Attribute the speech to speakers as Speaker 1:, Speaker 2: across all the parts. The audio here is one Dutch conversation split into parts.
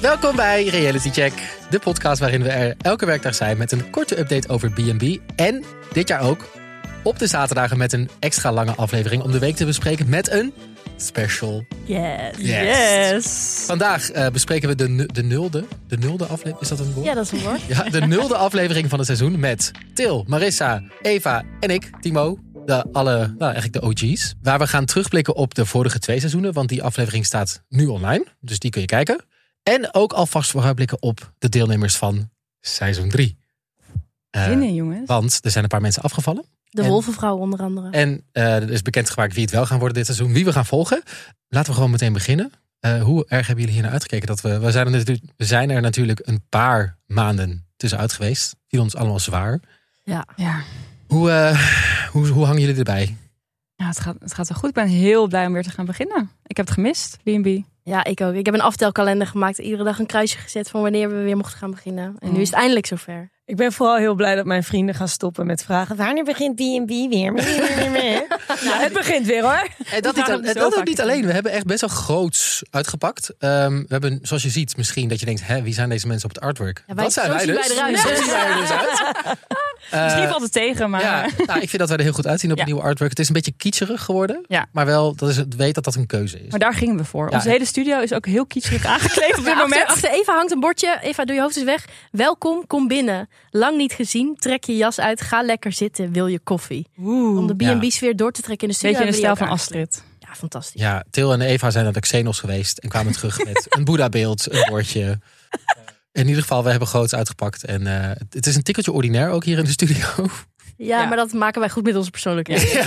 Speaker 1: Welkom bij Reality Check, de podcast waarin we er elke werkdag zijn met een korte update over B&B. En dit jaar ook op de zaterdagen met een extra lange aflevering om de week te bespreken met een special.
Speaker 2: Yes.
Speaker 1: Yes.
Speaker 2: Yes.
Speaker 1: Vandaag eh, bespreken we de, nu- de nulde, de nulde aflevering, is dat een woord?
Speaker 2: Ja, dat is een woord.
Speaker 1: Ja, de nulde aflevering van het seizoen met Til, Marissa, Eva en ik, Timo. De alle, nou eigenlijk de OG's. Waar we gaan terugblikken op de vorige twee seizoenen. Want die aflevering staat nu online. Dus die kun je kijken. En ook alvast vooruitblikken op de deelnemers van seizoen 3.
Speaker 3: Zin in, jongens.
Speaker 1: want er zijn een paar mensen afgevallen.
Speaker 2: De
Speaker 1: En-
Speaker 2: wolvenvrouw onder andere.
Speaker 1: En eh, er is bekendgemaakt wie het wel gaan worden dit seizoen. Wie we gaan volgen. Laten we gewoon meteen beginnen. Eh, hoe erg hebben jullie hier naar uitgekeken? Dat we, we, zijn er natuurlijk, we zijn er natuurlijk een paar maanden tussenuit geweest. Viel ons allemaal zwaar.
Speaker 3: Ja.
Speaker 1: Hoe, eh, hoe, hoe hangen jullie erbij?
Speaker 3: Ja, het, gaat, het gaat wel goed. Ik ben heel blij om weer te gaan beginnen. Ik heb het gemist, B&B.
Speaker 2: Ja, ik ook. Ik heb een aftelkalender gemaakt. Iedere dag een kruisje gezet van wanneer we weer mochten gaan beginnen. En nu
Speaker 3: Mm.
Speaker 2: is het eindelijk zover.
Speaker 4: Ik ben vooral heel blij dat mijn vrienden gaan stoppen met vragen. Wanneer begint B&B weer? nou, het begint weer hoor.
Speaker 1: En Eh, dat, niet,
Speaker 3: gaan
Speaker 1: al-
Speaker 3: hem zo
Speaker 1: en dat ook
Speaker 3: vaak
Speaker 1: niet
Speaker 3: zien.
Speaker 1: alleen. We hebben echt best wel groots uitgepakt. Ehm, we hebben, zoals je ziet, misschien dat je denkt... Hè, wie zijn deze mensen op het artwork?
Speaker 2: Ja, wij-
Speaker 1: dat zijn
Speaker 2: zo
Speaker 1: wij
Speaker 2: zien
Speaker 1: dus.
Speaker 2: wij eruit.
Speaker 1: Zo zien wij er dus uit. Eh,
Speaker 3: Misschien valt het tegen, maar... eh,
Speaker 1: Ja, nou, ik vind dat wij er heel goed uitzien op het
Speaker 3: Ja.
Speaker 1: nieuwe artwork. Het is een beetje kitscherig geworden.
Speaker 3: Ja.
Speaker 1: Maar wel, dat is, het- weet dat dat een keuze is.
Speaker 3: Maar daar gingen we voor.
Speaker 1: Ja,
Speaker 3: Onze
Speaker 1: ik-
Speaker 3: hele studio is ook heel kitscherig aangekleed op dit
Speaker 2: Ja, achter,
Speaker 3: moment.
Speaker 2: achter Eva hangt een bordje. Eva, doe je hoofd eens weg. Welkom, kom binnen. Lang niet gezien. Trek je jas uit. Ga lekker zitten. Wil je koffie? Om
Speaker 3: Oeh.
Speaker 2: de B&B-sfeer door te trekken in de studio.
Speaker 3: Beetje in de
Speaker 2: hebben
Speaker 3: stijl
Speaker 2: we die
Speaker 3: van
Speaker 2: ook aangekleed.
Speaker 3: Astrid.
Speaker 2: Ja, fantastisch.
Speaker 1: Ja, Til en Eva zijn naar de Xenos geweest en kwamen terug met een Boeddha-beeld, een woordje. In ieder geval, we hebben groots uitgepakt. En eh, het- het is een tikkeltje ordinair ook hier in de studio.
Speaker 2: Ja,
Speaker 3: Ja.
Speaker 2: maar dat maken wij goed met onze persoonlijke.
Speaker 1: Ja,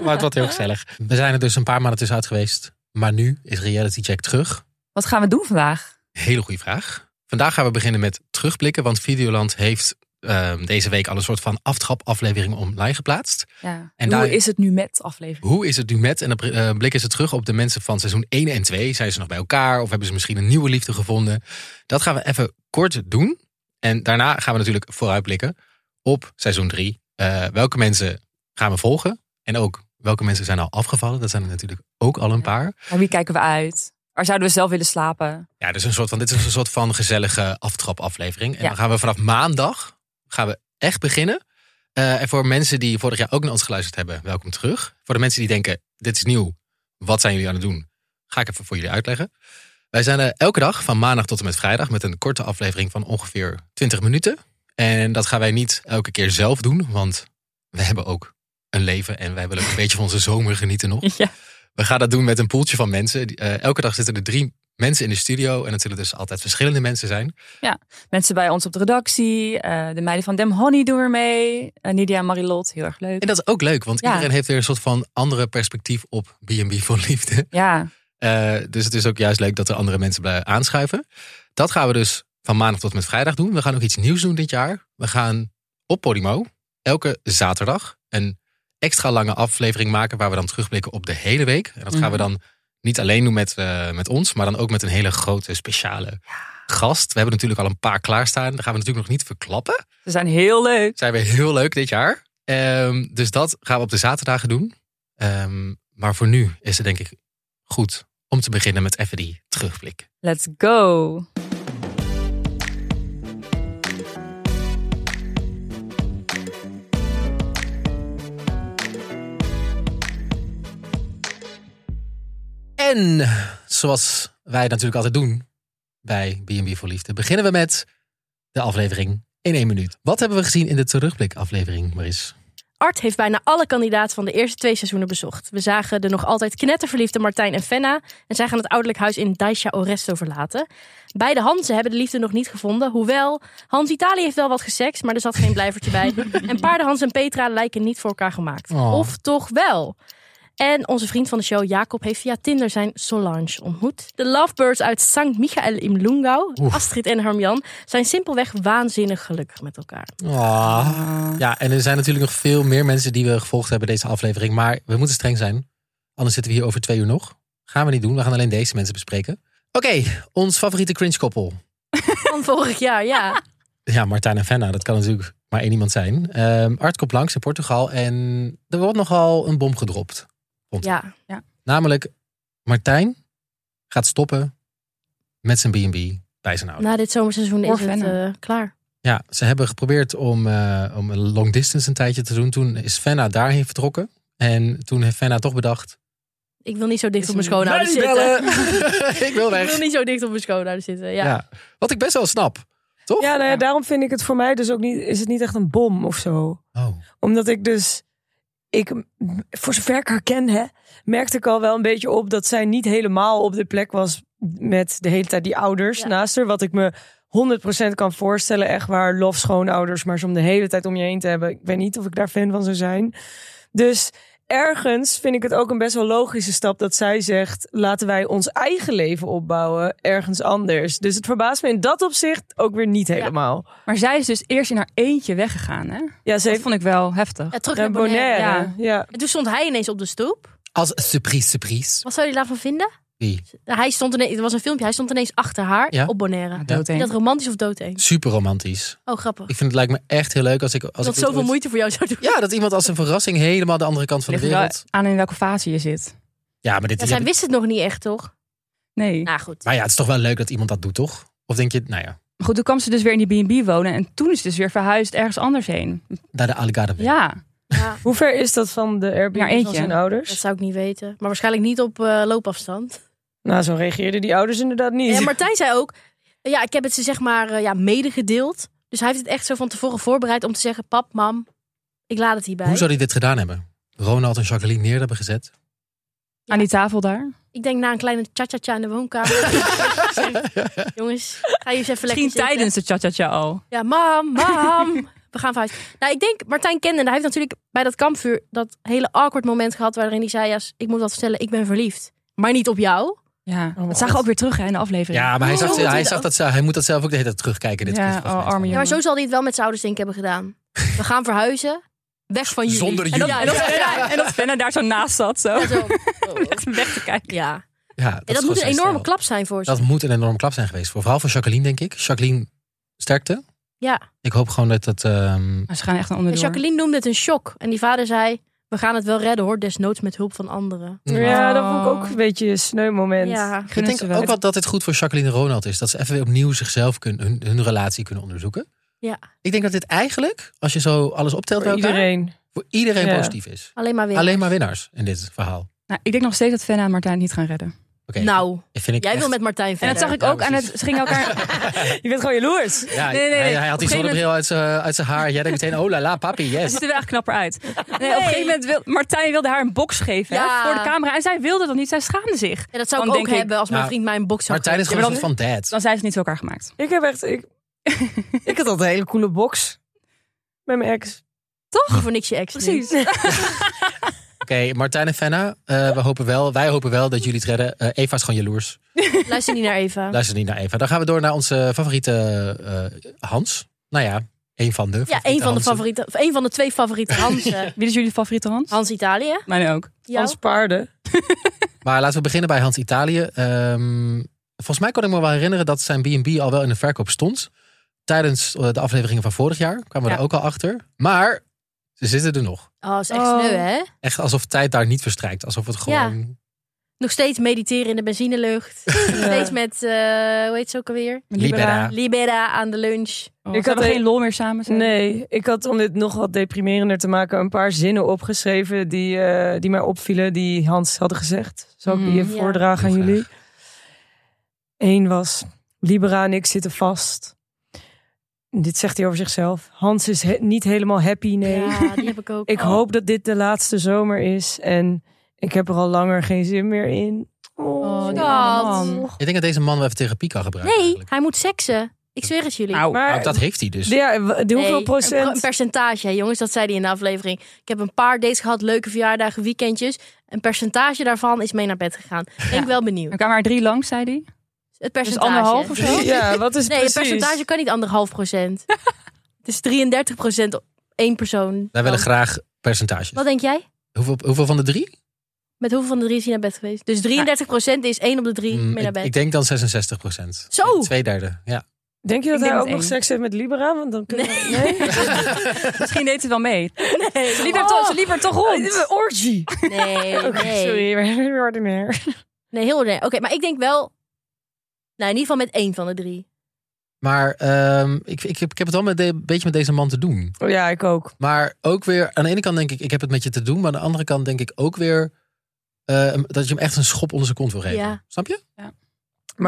Speaker 1: maar het was heel gezellig. We zijn er dus een paar maanden tussenuit geweest. Maar nu is Reality Check terug.
Speaker 3: Wat gaan we doen vandaag?
Speaker 1: Hele goede vraag. Vandaag gaan we beginnen met terugblikken. Want Videoland heeft ehm, deze week al een soort van aftrapaflevering online geplaatst.
Speaker 3: Ja. Hoe
Speaker 1: En daar-
Speaker 3: is het nu met aflevering?
Speaker 1: Hoe is het nu met? En dan eh, blikken ze terug op de mensen van seizoen 1 en 2. Zijn ze nog bij elkaar? Of hebben ze misschien een nieuwe liefde gevonden? Dat gaan we even kort doen. En daarna gaan we natuurlijk vooruitblikken op seizoen 3. Eh, welke mensen gaan we volgen? En ook welke mensen zijn al afgevallen? Dat zijn er natuurlijk ook al een paar.
Speaker 5: Naar wie kijken we uit? Waar zouden we zelf willen slapen?
Speaker 1: Ja, dus een soort van, dit is een soort van gezellige aftrapaflevering. En
Speaker 5: Ja.
Speaker 1: dan gaan we vanaf maandag gaan we echt beginnen. Eh, en voor mensen die vorig jaar ook naar ons geluisterd hebben, welkom terug. Voor de mensen die denken, dit is nieuw, wat zijn jullie aan het doen? Ga ik even voor jullie uitleggen. Wij zijn er elke dag van maandag tot en met vrijdag met een korte aflevering van ongeveer 20 minuten. En dat gaan wij niet elke keer zelf doen, want we hebben ook een leven en wij willen ook een beetje van onze zomer genieten nog.
Speaker 3: Ja.
Speaker 1: We gaan dat doen met een poeltje van mensen. Die, eh, elke dag zitten er drie mensen in de studio. En het zullen dus altijd verschillende mensen zijn.
Speaker 5: Mensen bij ons op de redactie. eh, de meiden van Dem Honey doen weer mee. eh, Nidia en Marilot, heel erg leuk.
Speaker 1: En dat is ook leuk, want
Speaker 5: Ja.
Speaker 1: iedereen heeft weer een soort van andere perspectief op B&B voor liefde.
Speaker 5: Ja,
Speaker 1: Eh, dus het is ook juist leuk dat er andere mensen blijven aanschuiven. Dat gaan we dus van maandag tot en met vrijdag doen. We gaan ook iets nieuws doen dit jaar. We gaan op Podimo elke zaterdag een extra lange aflevering maken... waar we dan terugblikken op de hele week. En dat gaan we dan niet alleen doen met, eh, met ons... maar dan ook met een hele grote speciale gast. We hebben natuurlijk al een paar klaarstaan. Dat gaan we natuurlijk nog niet verklappen
Speaker 5: ze zijn heel leuk.
Speaker 1: zijn weer heel leuk dit jaar. Ehm, dus dat gaan we op de zaterdagen doen. Ehm, maar voor nu is het denk ik goed om te beginnen met even die terugblik.
Speaker 5: Let's go.
Speaker 1: En zoals wij natuurlijk altijd doen bij B&B voor Liefde, beginnen we met de aflevering in één minuut. Wat hebben we gezien in de terugblikaflevering, Maris?
Speaker 2: Art heeft bijna alle kandidaten van de eerste twee seizoenen bezocht. We zagen de nog altijd knetterverliefde Martijn en Fenna. En zij gaan het ouderlijk huis in Daisha Oresto verlaten. Beide Hansen hebben de liefde nog niet gevonden. Hoewel, Hans Italië heeft wel wat gesext, maar er zat geen blijvertje bij. En paarden Hans en Petra lijken niet voor elkaar gemaakt.
Speaker 1: Oh.
Speaker 2: Of toch wel? En onze vriend van de show, Jacob, heeft via Tinder zijn Solange ontmoet. De lovebirds uit Sankt Michael in Lungau,
Speaker 1: Oef.
Speaker 2: Astrid en Harmjan, zijn simpelweg waanzinnig gelukkig met elkaar.
Speaker 1: Ja, en er zijn natuurlijk nog veel meer mensen die we gevolgd hebben deze aflevering. Maar we moeten streng zijn. Anders zitten we hier over twee uur nog. Gaan we niet doen. We gaan alleen deze mensen bespreken. Oké, ons favoriete cringe koppel.
Speaker 2: Van vorig jaar, ja.
Speaker 1: ja, Martijn en Fenna, dat kan natuurlijk maar één iemand zijn. Ehm Art komt langs in Portugal en er wordt nogal een bom gedropt.
Speaker 2: Ja,
Speaker 1: Namelijk, Martijn gaat stoppen met zijn B&B bij zijn ouders.
Speaker 2: na dit zomerseizoen
Speaker 3: Hoor
Speaker 2: is het
Speaker 3: Fenna.
Speaker 2: eh, klaar.
Speaker 1: Ja, ze hebben geprobeerd om, eh, om een long distance een tijdje te doen. Toen is Fenna daarheen vertrokken. En toen heeft Fenna toch bedacht...
Speaker 2: Ik wil niet zo dicht
Speaker 5: Is
Speaker 2: op mijn
Speaker 5: een
Speaker 2: schoonouders
Speaker 1: "Mij niet
Speaker 2: zitten.
Speaker 1: bellen! ik wil
Speaker 2: Ik wil
Speaker 1: eh, weg.
Speaker 2: niet zo dicht op mijn schoonouders zitten. Ja.
Speaker 1: Ja. Wat ik best wel snap, toch?
Speaker 4: Ja, nou ja,
Speaker 5: Ja.
Speaker 4: daarom vind ik het voor mij dus ook niet, is het niet echt een bom of zo.
Speaker 1: Oh.
Speaker 4: Omdat ik dus, ik, voor zover ik haar ken, hè, merkte ik al wel een beetje op dat zij niet helemaal op de plek was met de hele tijd die ouders
Speaker 2: Ja.
Speaker 4: naast haar. Wat ik me 100% kan voorstellen, echt waar, lof schoonouders, maar ze om de hele tijd om je heen te hebben. Ik weet niet of ik daar fan van zou zijn. Dus ergens vind ik het ook een best wel logische stap dat zij zegt: laten wij ons eigen leven opbouwen ergens anders. Dus het verbaast me in dat opzicht ook weer niet helemaal. Ja,
Speaker 3: Maar zij is dus eerst in haar eentje weggegaan, hè?
Speaker 4: ze
Speaker 3: Dat
Speaker 4: heeft
Speaker 3: vond ik wel heftig.
Speaker 2: Ja, terug
Speaker 4: naar
Speaker 2: naar Bonaire.
Speaker 4: Bonaire.
Speaker 3: ja.
Speaker 4: ja.
Speaker 2: En toen stond hij ineens op de stoep.
Speaker 1: Als surprise, surprise.
Speaker 2: Wat zou je daarvan vinden?
Speaker 1: Wie?
Speaker 2: Hij stond ineens, er was een filmpje, hij stond ineens achter haar
Speaker 1: Ja.
Speaker 2: op Bonaire. Vind
Speaker 3: Doodeng.
Speaker 2: je dat romantisch of doodeng?
Speaker 1: Super romantisch.
Speaker 2: Oh, grappig.
Speaker 1: Ik vind het lijkt me echt heel leuk als ik... Als
Speaker 2: dat
Speaker 1: ik dit
Speaker 2: zoveel
Speaker 1: ooit-
Speaker 2: moeite voor jou zou doen.
Speaker 1: Ja, dat iemand als een verrassing helemaal de andere kant van de
Speaker 3: Ligt er wel
Speaker 1: wereld...
Speaker 3: aan in welke fase je zit.
Speaker 1: Ja, maar dit...
Speaker 2: Ja,
Speaker 1: ja,
Speaker 2: zij wist het nog niet echt, toch?
Speaker 3: Nee.
Speaker 2: Nou goed.
Speaker 1: Maar ja, het is toch wel leuk dat iemand dat doet, toch? Of denk je, nou ja,
Speaker 3: Maar goed, toen kwam ze dus weer in die B&B wonen. En toen is ze dus weer verhuisd ergens anders heen.
Speaker 1: naar de Algarve.
Speaker 3: Ja.
Speaker 2: Ja,
Speaker 4: Hoe ver is dat van de
Speaker 3: Naar
Speaker 4: Airbnb
Speaker 3: eentje.
Speaker 4: van zijn
Speaker 2: dat
Speaker 4: ouders?
Speaker 2: zou ik niet weten. Maar waarschijnlijk niet op eh, loopafstand.
Speaker 4: Nou, zo reageerden die ouders inderdaad niet.
Speaker 2: En Martijn zei ook, ja, ik heb het ze zeg maar eh, ja, medegedeeld. Dus hij heeft het echt zo van tevoren voorbereid om te zeggen, pap, mam, ik laat het hierbij.
Speaker 1: Hoe zou hij dit gedaan hebben? Ronald en Jacqueline neer hebben gezet.
Speaker 3: Aan die tafel daar.
Speaker 2: Ik denk na een kleine cha-cha-cha in de woonkamer. Jongens, ga je eens even lekker
Speaker 3: Misschien
Speaker 2: zitten.
Speaker 3: tijdens de cha-cha-cha al.
Speaker 2: Ja, mam, mam. We gaan verhuizen. Nou, ik denk, Martijn kende, en hij heeft natuurlijk bij dat kampvuur dat hele awkward moment gehad waarin hij zei, ja, ik moet wat vertellen, ik ben verliefd. Maar niet op jou.
Speaker 3: Ja.
Speaker 4: mijn
Speaker 3: dat zag
Speaker 4: God.
Speaker 3: je ook weer terug hè, in de aflevering.
Speaker 1: Ja, maar hij, zag,
Speaker 2: Hoe moet
Speaker 1: hij,
Speaker 2: hij
Speaker 1: zag
Speaker 2: Oh, dat?
Speaker 1: dat, zelf- hij moet dat zelf ook de hele tijd terugkijken. Dit
Speaker 3: Ja,
Speaker 1: kiezen,
Speaker 3: oh, arme
Speaker 2: Ja, maar
Speaker 3: jongen.
Speaker 2: zo zal hij het wel met zijn ouders denk ik hebben gedaan. We gaan verhuizen. Weg van jullie.
Speaker 1: Zonder
Speaker 2: En dat-
Speaker 1: jullie.
Speaker 2: en dat-
Speaker 3: Fenna- en dat Fenna daar zo naast zat. Zo.
Speaker 2: ja, zo.
Speaker 3: Echt weg te kijken.
Speaker 2: Ja. En
Speaker 1: Ja, dat,
Speaker 2: dat,
Speaker 1: is gewoon
Speaker 2: moet een
Speaker 1: zijn
Speaker 2: enorme
Speaker 1: stijl.
Speaker 2: klap zijn voor ze.
Speaker 1: Dat moet een enorme klap zijn geweest. Voor, vooral voor Jacqueline, denk ik. Jacqueline, sterkte.
Speaker 2: Ja.
Speaker 1: Ik hoop gewoon dat dat... ehm,
Speaker 3: Maar ze gaan echt naar
Speaker 2: En
Speaker 3: onderdoor.
Speaker 2: Jacqueline noemde het een shock. En die vader zei, we gaan het wel redden hoor, desnoods met hulp van anderen.
Speaker 4: Ja, Oh. dat vond ik ook een beetje een sneu moment.
Speaker 2: Ja.
Speaker 1: Ik
Speaker 3: Gunnen
Speaker 1: denk
Speaker 3: ze wel.
Speaker 1: ook wat dat het goed voor Jacqueline en Ronald is. Dat ze even weer opnieuw zichzelf kunnen, hun, hun relatie kunnen onderzoeken.
Speaker 2: Ja.
Speaker 1: Ik denk dat dit eigenlijk, als je zo alles optelt
Speaker 4: Voor
Speaker 1: bij elkaar,
Speaker 4: iedereen.
Speaker 1: voor iedereen
Speaker 4: Ja.
Speaker 1: positief is.
Speaker 2: Alleen maar weer.
Speaker 1: Alleen maar winnaars in dit verhaal.
Speaker 3: Nou, ik denk nog steeds dat Fenna en Martijn het niet gaan redden.
Speaker 1: Oké.
Speaker 2: Nou,
Speaker 1: dat vind ik
Speaker 2: jij
Speaker 1: echt-
Speaker 2: wil met Martijn
Speaker 3: En
Speaker 2: verder.
Speaker 3: dat zag ik
Speaker 1: Ja,
Speaker 3: ook aan het...
Speaker 1: precies.
Speaker 3: Ze gingen elkaar...
Speaker 4: Je bent gewoon jaloers.
Speaker 1: Ja,
Speaker 3: Nee, nee, nee.
Speaker 1: Hij, hij had
Speaker 3: Op
Speaker 1: die
Speaker 3: een gegeven
Speaker 1: zonnebril uit zijn- uit zijn haar. Jij denkt meteen, oh la la, papi,
Speaker 3: Ze
Speaker 1: yes.
Speaker 3: ziet er wel echt knapper uit. Nee, Op een gegeven moment wil Martijn wilde haar een box geven hè,
Speaker 2: Ja.
Speaker 3: voor de camera. En zij wilde dat niet. Zij schaamde zich.
Speaker 2: Ja, dat zou
Speaker 3: Dan
Speaker 2: ik ook
Speaker 3: denk ik-
Speaker 2: hebben als mijn
Speaker 1: Ja.
Speaker 2: vriend mij een box zou
Speaker 1: Martijn is
Speaker 2: geven.
Speaker 1: gewoon een
Speaker 2: Ja,
Speaker 1: soort van dad.
Speaker 3: Dan zijn ze niet bij elkaar gemaakt.
Speaker 4: Ik heb echt... Ik, ik had altijd een hele coole box. Met mijn ex.
Speaker 2: maar dan- Voor niks je ex.
Speaker 3: Precies.
Speaker 2: nu.
Speaker 1: Oké, Martijn en Fenna, eh, we hopen wel, wij hopen wel dat jullie het redden. Eh, Eva is gewoon jaloers.
Speaker 2: Luister niet naar Eva.
Speaker 1: Luister niet naar Eva. Dan gaan we door naar onze favoriete eh, Hans. Nou ja, een van de
Speaker 2: Ja,
Speaker 1: favoriete
Speaker 2: een van de
Speaker 1: Hansen.
Speaker 2: favoriete, of een van de twee favoriete Hansen.
Speaker 3: Wie is jullie favoriete Hans?
Speaker 2: Hans Italië.
Speaker 3: Mijn ook.
Speaker 2: Jouw?
Speaker 4: Als paarden.
Speaker 1: Maar laten we beginnen bij Hans Italië. Ehm, volgens mij kon ik me wel herinneren dat zijn B&B al wel in de verkoop stond. Tijdens eh, de afleveringen van vorig jaar kwamen we
Speaker 3: Ja.
Speaker 1: er ook al achter. Maar ze zitten er nog.
Speaker 2: Oh, is echt
Speaker 3: Oh.
Speaker 2: sneu, hè?
Speaker 1: Echt alsof tijd daar niet verstrijkt. Alsof het
Speaker 2: Ja.
Speaker 1: gewoon
Speaker 2: Nog steeds mediteren in de benzinelucht. Nog steeds met, eh, hoe heet ze ook alweer?
Speaker 1: libera.
Speaker 2: Libera aan de lunch.
Speaker 3: Oh,
Speaker 4: Ik
Speaker 3: ik
Speaker 4: had
Speaker 3: had
Speaker 4: een-
Speaker 3: geen lol meer samen. zeg.
Speaker 4: Nee, ik had om dit nog wat deprimerender te maken... een paar zinnen opgeschreven die, eh, die mij opvielen... die Hans hadden gezegd. Zal ik die
Speaker 3: Mm,
Speaker 4: even
Speaker 2: ja.
Speaker 4: voordragen aan
Speaker 1: Heel
Speaker 4: jullie? Eén was... Libera en ik zitten vast. Dit zegt hij over zichzelf. Hans is he- niet helemaal happy, nee.
Speaker 2: Ja, die heb ik ook.
Speaker 4: Ik
Speaker 2: Oh.
Speaker 4: hoop dat dit de laatste zomer is. En ik heb er al langer geen zin meer in.
Speaker 3: Oh, die
Speaker 2: Schat.
Speaker 3: arme man.
Speaker 1: Ik denk dat deze man wel even therapie kan gebruiken.
Speaker 2: Nee,
Speaker 1: eigenlijk.
Speaker 2: hij moet seksen. Ik zweer het jullie.
Speaker 3: Nou,
Speaker 4: Maar
Speaker 1: Nou, dat heeft hij dus.
Speaker 4: ja, w- de hoeveel
Speaker 2: Nee, Een, pro- een
Speaker 4: procent?
Speaker 2: percentage, hè, jongens. Dat zei hij in de aflevering. Ik heb een paar dates gehad, leuke verjaardagen, weekendjes. Een percentage daarvan is mee naar bed gegaan. Ik ben wel benieuwd.
Speaker 4: Dus
Speaker 3: er kwamen er drie langs, zei hij.
Speaker 2: Het percentage.
Speaker 3: anderhalf of zo? pro-
Speaker 4: Ja, wat is
Speaker 2: Nee, het
Speaker 4: precies?
Speaker 2: percentage kan niet anderhalf procent. het is 33 procent op één persoon.
Speaker 1: Wij willen
Speaker 2: Oh.
Speaker 1: graag percentages.
Speaker 2: Wat denk jij?
Speaker 1: Hoeveel, hoeveel van de drie?
Speaker 2: Met hoeveel van de drie is hij naar bed geweest? Dus 33 procent is één op de drie
Speaker 1: Mm,
Speaker 2: mee naar
Speaker 1: ik,
Speaker 2: bed.
Speaker 1: ik denk dan 66 procent.
Speaker 2: Zo!
Speaker 1: Twee derde, ja.
Speaker 4: Denk je dat
Speaker 5: Ik
Speaker 4: hij
Speaker 5: denk
Speaker 4: ook
Speaker 5: met
Speaker 4: nog
Speaker 5: één.
Speaker 4: seks heeft met Libera? Want dan kunnen we- nee.
Speaker 5: Misschien deed hij wel mee.
Speaker 2: Nee,
Speaker 5: Ze liep hem toch, ze liep er toch rond.
Speaker 4: Orgy.
Speaker 2: nee,
Speaker 4: Oké, sorry, maar heel ordinair.
Speaker 2: Nee, heel ordinair. Oké, maar ik denk wel... Nou, in ieder geval met één van de drie.
Speaker 1: Maar ehm, ik, ik, heb, ik heb het wel met de- een beetje met deze man te doen.
Speaker 4: Oh, ja, ik ook.
Speaker 1: Maar ook weer, aan de ene kant denk ik, ik heb het met je te doen. Maar aan de andere kant denk ik ook weer eh, dat je hem echt een schop onder zijn kont wil geven.
Speaker 2: Ja.
Speaker 1: Snap je?
Speaker 4: Maar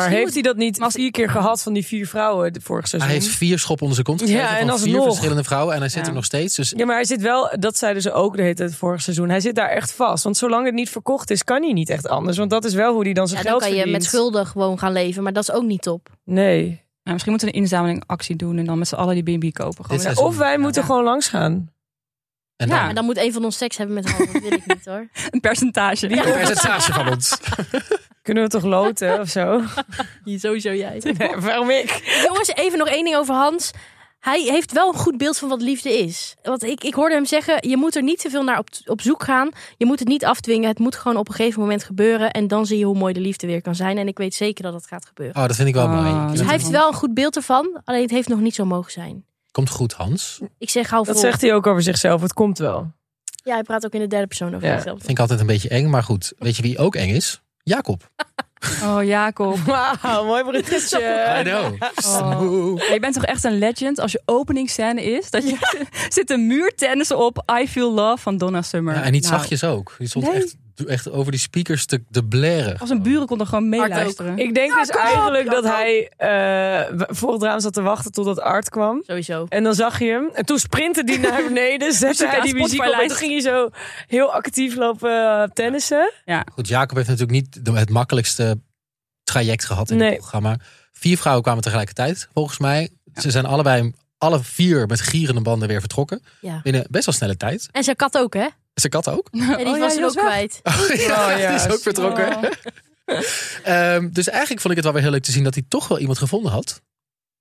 Speaker 5: Misschien
Speaker 4: heeft hij dat niet
Speaker 5: Als-
Speaker 4: vier keer gehad van die vier vrouwen de vorige seizoen?
Speaker 1: Ah, Hij heeft vier schop onder zijn kont gegeven
Speaker 4: Ja, en
Speaker 1: van vier
Speaker 4: alsnog.
Speaker 1: verschillende vrouwen. En hij zit
Speaker 5: Ja.
Speaker 1: er nog steeds. Dus
Speaker 4: Ja, maar hij zit wel, dat zeiden ze ook de hele tijd vorig seizoen. Hij zit daar echt vast. Want zolang het niet verkocht is, kan hij niet echt anders. Want dat is wel hoe hij dan
Speaker 2: Ja,
Speaker 4: zijn
Speaker 2: dan
Speaker 4: geld
Speaker 2: kan je
Speaker 4: verdient.
Speaker 2: met schulden gewoon gaan leven. Maar dat is ook niet top.
Speaker 4: Nee.
Speaker 5: Ja, Nou, misschien moeten we een inzamelingactie doen en dan met z'n allen die BB kopen. Gewoon.
Speaker 1: Dit is-
Speaker 4: Of wij moeten
Speaker 5: Ja.
Speaker 4: gewoon langs gaan.
Speaker 1: en
Speaker 5: Ja.
Speaker 1: dan
Speaker 2: Maar dan moet één van ons seks hebben met Han. Dat wil ik niet hoor.
Speaker 5: een percentage.
Speaker 1: een percentage van ons.
Speaker 4: Kunnen we toch loten of zo?
Speaker 2: Sowieso jij.
Speaker 4: Nee, waarom ik?
Speaker 2: Jongens, even nog één ding over Hans. Hij heeft wel een goed beeld van wat liefde is. Want ik, ik hoorde hem zeggen, je moet er niet te veel naar op, op zoek gaan. Je moet het niet afdwingen. Het moet gewoon op een gegeven moment gebeuren. En dan zie je hoe mooi de liefde weer kan zijn. En ik weet zeker dat dat gaat gebeuren.
Speaker 1: Oh, dat vind ik wel
Speaker 5: Ah,
Speaker 1: mooi.
Speaker 5: dus
Speaker 1: Je
Speaker 2: Dus
Speaker 1: bent-
Speaker 2: hij heeft wel een goed beeld ervan. Alleen het heeft nog niet zo mogen zijn.
Speaker 1: Komt goed, Hans.
Speaker 2: Ik zeg hou vol.
Speaker 4: Dat zegt hij ook over zichzelf. Het komt wel.
Speaker 2: Ja, hij praat ook in de derde persoon over
Speaker 4: Ja.
Speaker 2: zichzelf.
Speaker 1: Vind ik altijd een beetje eng. Maar goed, weet je wie ook eng is? Jacob.
Speaker 5: Oh, Jacob.
Speaker 4: Wauw, mooi bruggetje.
Speaker 1: I know.
Speaker 5: Oh. Ja, je bent toch echt een legend als je openingsscène is. Dat je zit een muurtennissen op I Feel Love van Donna Summer.
Speaker 1: Ja, en niet
Speaker 5: Nou,
Speaker 1: zachtjes ook. Je stond
Speaker 5: Nee.
Speaker 1: echt, echt over die speakers te, te blaren.
Speaker 5: Als een buren konden gewoon
Speaker 2: ook.
Speaker 5: meeluisteren.
Speaker 4: Ik denk dus eigenlijk dat hij eh, voor het raam zat te wachten totdat Art kwam.
Speaker 2: Sowieso.
Speaker 4: En dan zag je hem. En toen sprintte hij naar beneden, zette hij
Speaker 5: aan
Speaker 4: die muziek op. En
Speaker 5: Spotify-lijst.
Speaker 4: toen ging hij zo heel actief lopen eh, tennissen.
Speaker 1: Goed, Jacob heeft natuurlijk niet de- het makkelijkste traject gehad in
Speaker 4: Nee.
Speaker 1: het programma. Vier vrouwen kwamen tegelijkertijd, volgens mij. Ze zijn allebei, alle vier met gierende banden weer vertrokken.
Speaker 2: Ja.
Speaker 1: Binnen best wel snelle tijd.
Speaker 2: En zijn kat ook, hè?
Speaker 1: Zijn kat ook.
Speaker 2: En die
Speaker 5: Oh
Speaker 2: was
Speaker 5: ja, die
Speaker 2: hem
Speaker 5: was
Speaker 2: ook
Speaker 5: weg.
Speaker 2: kwijt.
Speaker 1: ja,
Speaker 4: ja,
Speaker 1: die is ook
Speaker 4: shit.
Speaker 1: vertrokken.
Speaker 5: Oh.
Speaker 1: Ehm, dus eigenlijk vond ik het wel weer heel leuk te zien dat hij toch wel iemand gevonden had.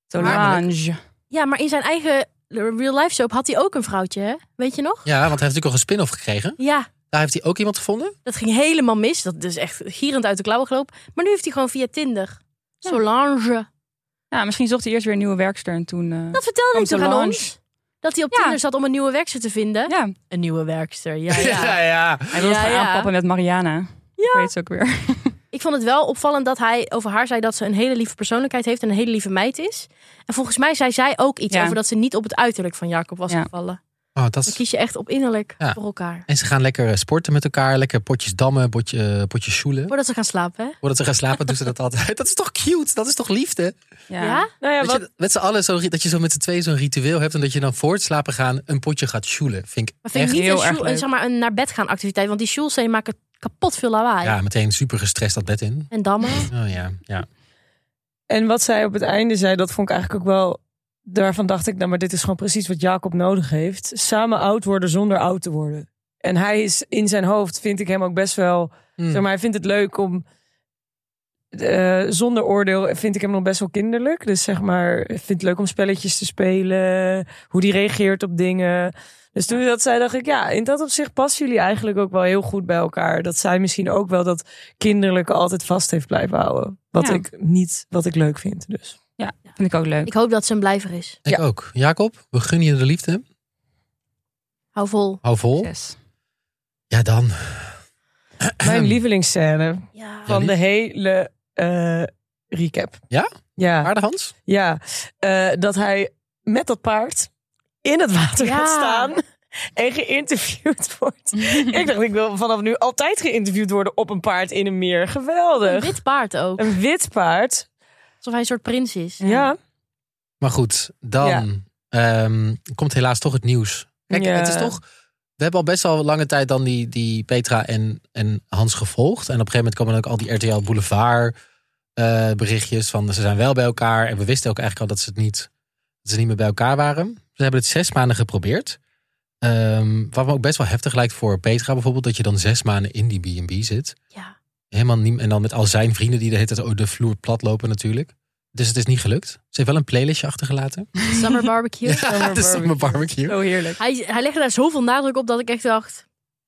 Speaker 5: Solange.
Speaker 2: Ja, maar in zijn eigen real life soap had hij ook een vrouwtje, hè? Weet je nog?
Speaker 1: Ja, want hij heeft natuurlijk al een spin-off gekregen.
Speaker 2: Ja.
Speaker 1: Daar heeft hij ook iemand gevonden.
Speaker 2: Dat ging helemaal mis. Dat is echt gierend uit de klauwen gelopen. Maar nu heeft hij gewoon via Tinder.
Speaker 5: Ja.
Speaker 2: Solange.
Speaker 5: Ja, misschien zocht hij eerst weer een nieuwe werkster en toen... eh,
Speaker 2: Dat vertelde hij
Speaker 5: Komt
Speaker 2: toch aan
Speaker 5: Solange.
Speaker 2: ons? Dat hij op
Speaker 5: Ja.
Speaker 2: Tinder zat om een nieuwe werkster te vinden.
Speaker 5: ja,
Speaker 2: Een nieuwe werkster, ja,
Speaker 1: ja.
Speaker 2: ja.
Speaker 1: ja.
Speaker 5: hij wilde
Speaker 2: Ja,
Speaker 5: gaan
Speaker 2: ja.
Speaker 5: aanpappen met Mariana. Ik weet het ook weer.
Speaker 2: Ik vond het wel opvallend dat hij over haar zei dat ze een hele lieve persoonlijkheid heeft en een hele lieve meid is. En volgens mij zei zij ook iets
Speaker 5: Ja.
Speaker 2: over dat ze niet op het uiterlijk van Jacob was
Speaker 5: Ja.
Speaker 2: gevallen.
Speaker 1: Oh, dat
Speaker 2: Dan
Speaker 1: is-
Speaker 2: kies je echt op innerlijk
Speaker 1: Ja.
Speaker 2: voor elkaar.
Speaker 1: En ze gaan lekker eh, sporten met elkaar. Lekker potjes dammen, potje, eh, potjes sjoelen.
Speaker 2: Voordat ze gaan slapen, hè?
Speaker 1: Voordat ze gaan slapen doen ze dat altijd. Dat is toch cute? Dat is toch liefde?
Speaker 5: Ja.
Speaker 2: Ja?
Speaker 4: Nou ja,
Speaker 1: Dat
Speaker 4: wat,
Speaker 1: je met z'n allen zo, dat je zo met z'n tweeën zo'n ritueel hebt. En dat je dan voor het slapen gaan een potje gaat sjoelen. Vind ik
Speaker 2: Maar vind ik
Speaker 5: Echt
Speaker 2: niet een,
Speaker 5: heel erg
Speaker 2: sjoel-
Speaker 5: leuk.
Speaker 2: zeg maar, een naar bed gaan activiteit. Want die sjoelsteen maken kapot veel lawaai.
Speaker 1: ja, meteen super gestrest dat bed in.
Speaker 2: En dammen.
Speaker 1: Oh ja, ja.
Speaker 4: en wat zij op het einde zei, dat vond ik eigenlijk ook wel... Daarvan dacht ik, nou maar dit is gewoon precies wat Jacob nodig heeft. Samen oud worden zonder oud te worden. En hij is in zijn hoofd, vind ik hem ook best wel...
Speaker 1: Hm.
Speaker 4: Zeg maar, hij vindt het leuk om... eh, zonder oordeel vind ik hem nog best wel kinderlijk. Dus zeg maar, ik vind het leuk om spelletjes te spelen. Hoe die reageert op dingen. Dus toen hij dat zei, dacht ik, ja, in dat opzicht passen jullie eigenlijk ook wel heel goed bij elkaar. Dat zij misschien ook wel dat kinderlijke altijd vast heeft blijven houden. Wat
Speaker 5: Ja.
Speaker 4: ik niet, wat ik leuk vind. Dus.
Speaker 5: Vind ik ook leuk.
Speaker 2: Ik hoop dat ze een blijver is.
Speaker 1: Ik
Speaker 4: Ja.
Speaker 1: ook. Jacob, we gunnen je de liefde.
Speaker 2: Hou vol.
Speaker 1: Hou vol.
Speaker 5: Yes.
Speaker 1: Ja, dan.
Speaker 4: Mijn lievelingsscène
Speaker 2: Ja.
Speaker 1: Ja,
Speaker 4: van
Speaker 1: lief-
Speaker 4: de hele eh, recap.
Speaker 1: Ja?
Speaker 4: Ja.
Speaker 1: Aarde Hans?
Speaker 4: Ja, eh, dat hij met dat paard in het water
Speaker 2: Ja.
Speaker 4: gaat staan en geïnterviewd wordt. ik dacht, ik wil vanaf nu altijd geïnterviewd worden op een paard in een meer.
Speaker 2: Een
Speaker 4: Geweldig.
Speaker 2: wit paard ook.
Speaker 4: Een wit paard.
Speaker 2: Alsof hij een soort prins is.
Speaker 4: Ja.
Speaker 1: Maar goed, dan ehm, komt helaas toch het nieuws. Kijk,
Speaker 4: Ja.
Speaker 1: het is toch. We hebben al best wel lange tijd dan die, die Petra en, en Hans gevolgd. En op een gegeven moment komen dan ook al die RTL Boulevard eh, berichtjes van ze zijn wel bij elkaar. En we wisten ook eigenlijk al dat ze het niet, dat ze niet meer bij elkaar waren. Ze hebben het zes maanden geprobeerd. Ehm, wat me ook best wel heftig lijkt voor Petra bijvoorbeeld. Dat je dan zes maanden in die B&B zit.
Speaker 2: Ja.
Speaker 1: Helemaal niet, en dan met al zijn vrienden die de hele tijd over de vloer plat lopen natuurlijk. Dus het is niet gelukt. Ze heeft wel een playlistje achtergelaten.
Speaker 2: Summer barbecue.
Speaker 1: Ja, het is op mijn barbecue.
Speaker 5: Zo Oh, heerlijk.
Speaker 2: Hij, hij legde daar zoveel nadruk op dat ik echt dacht...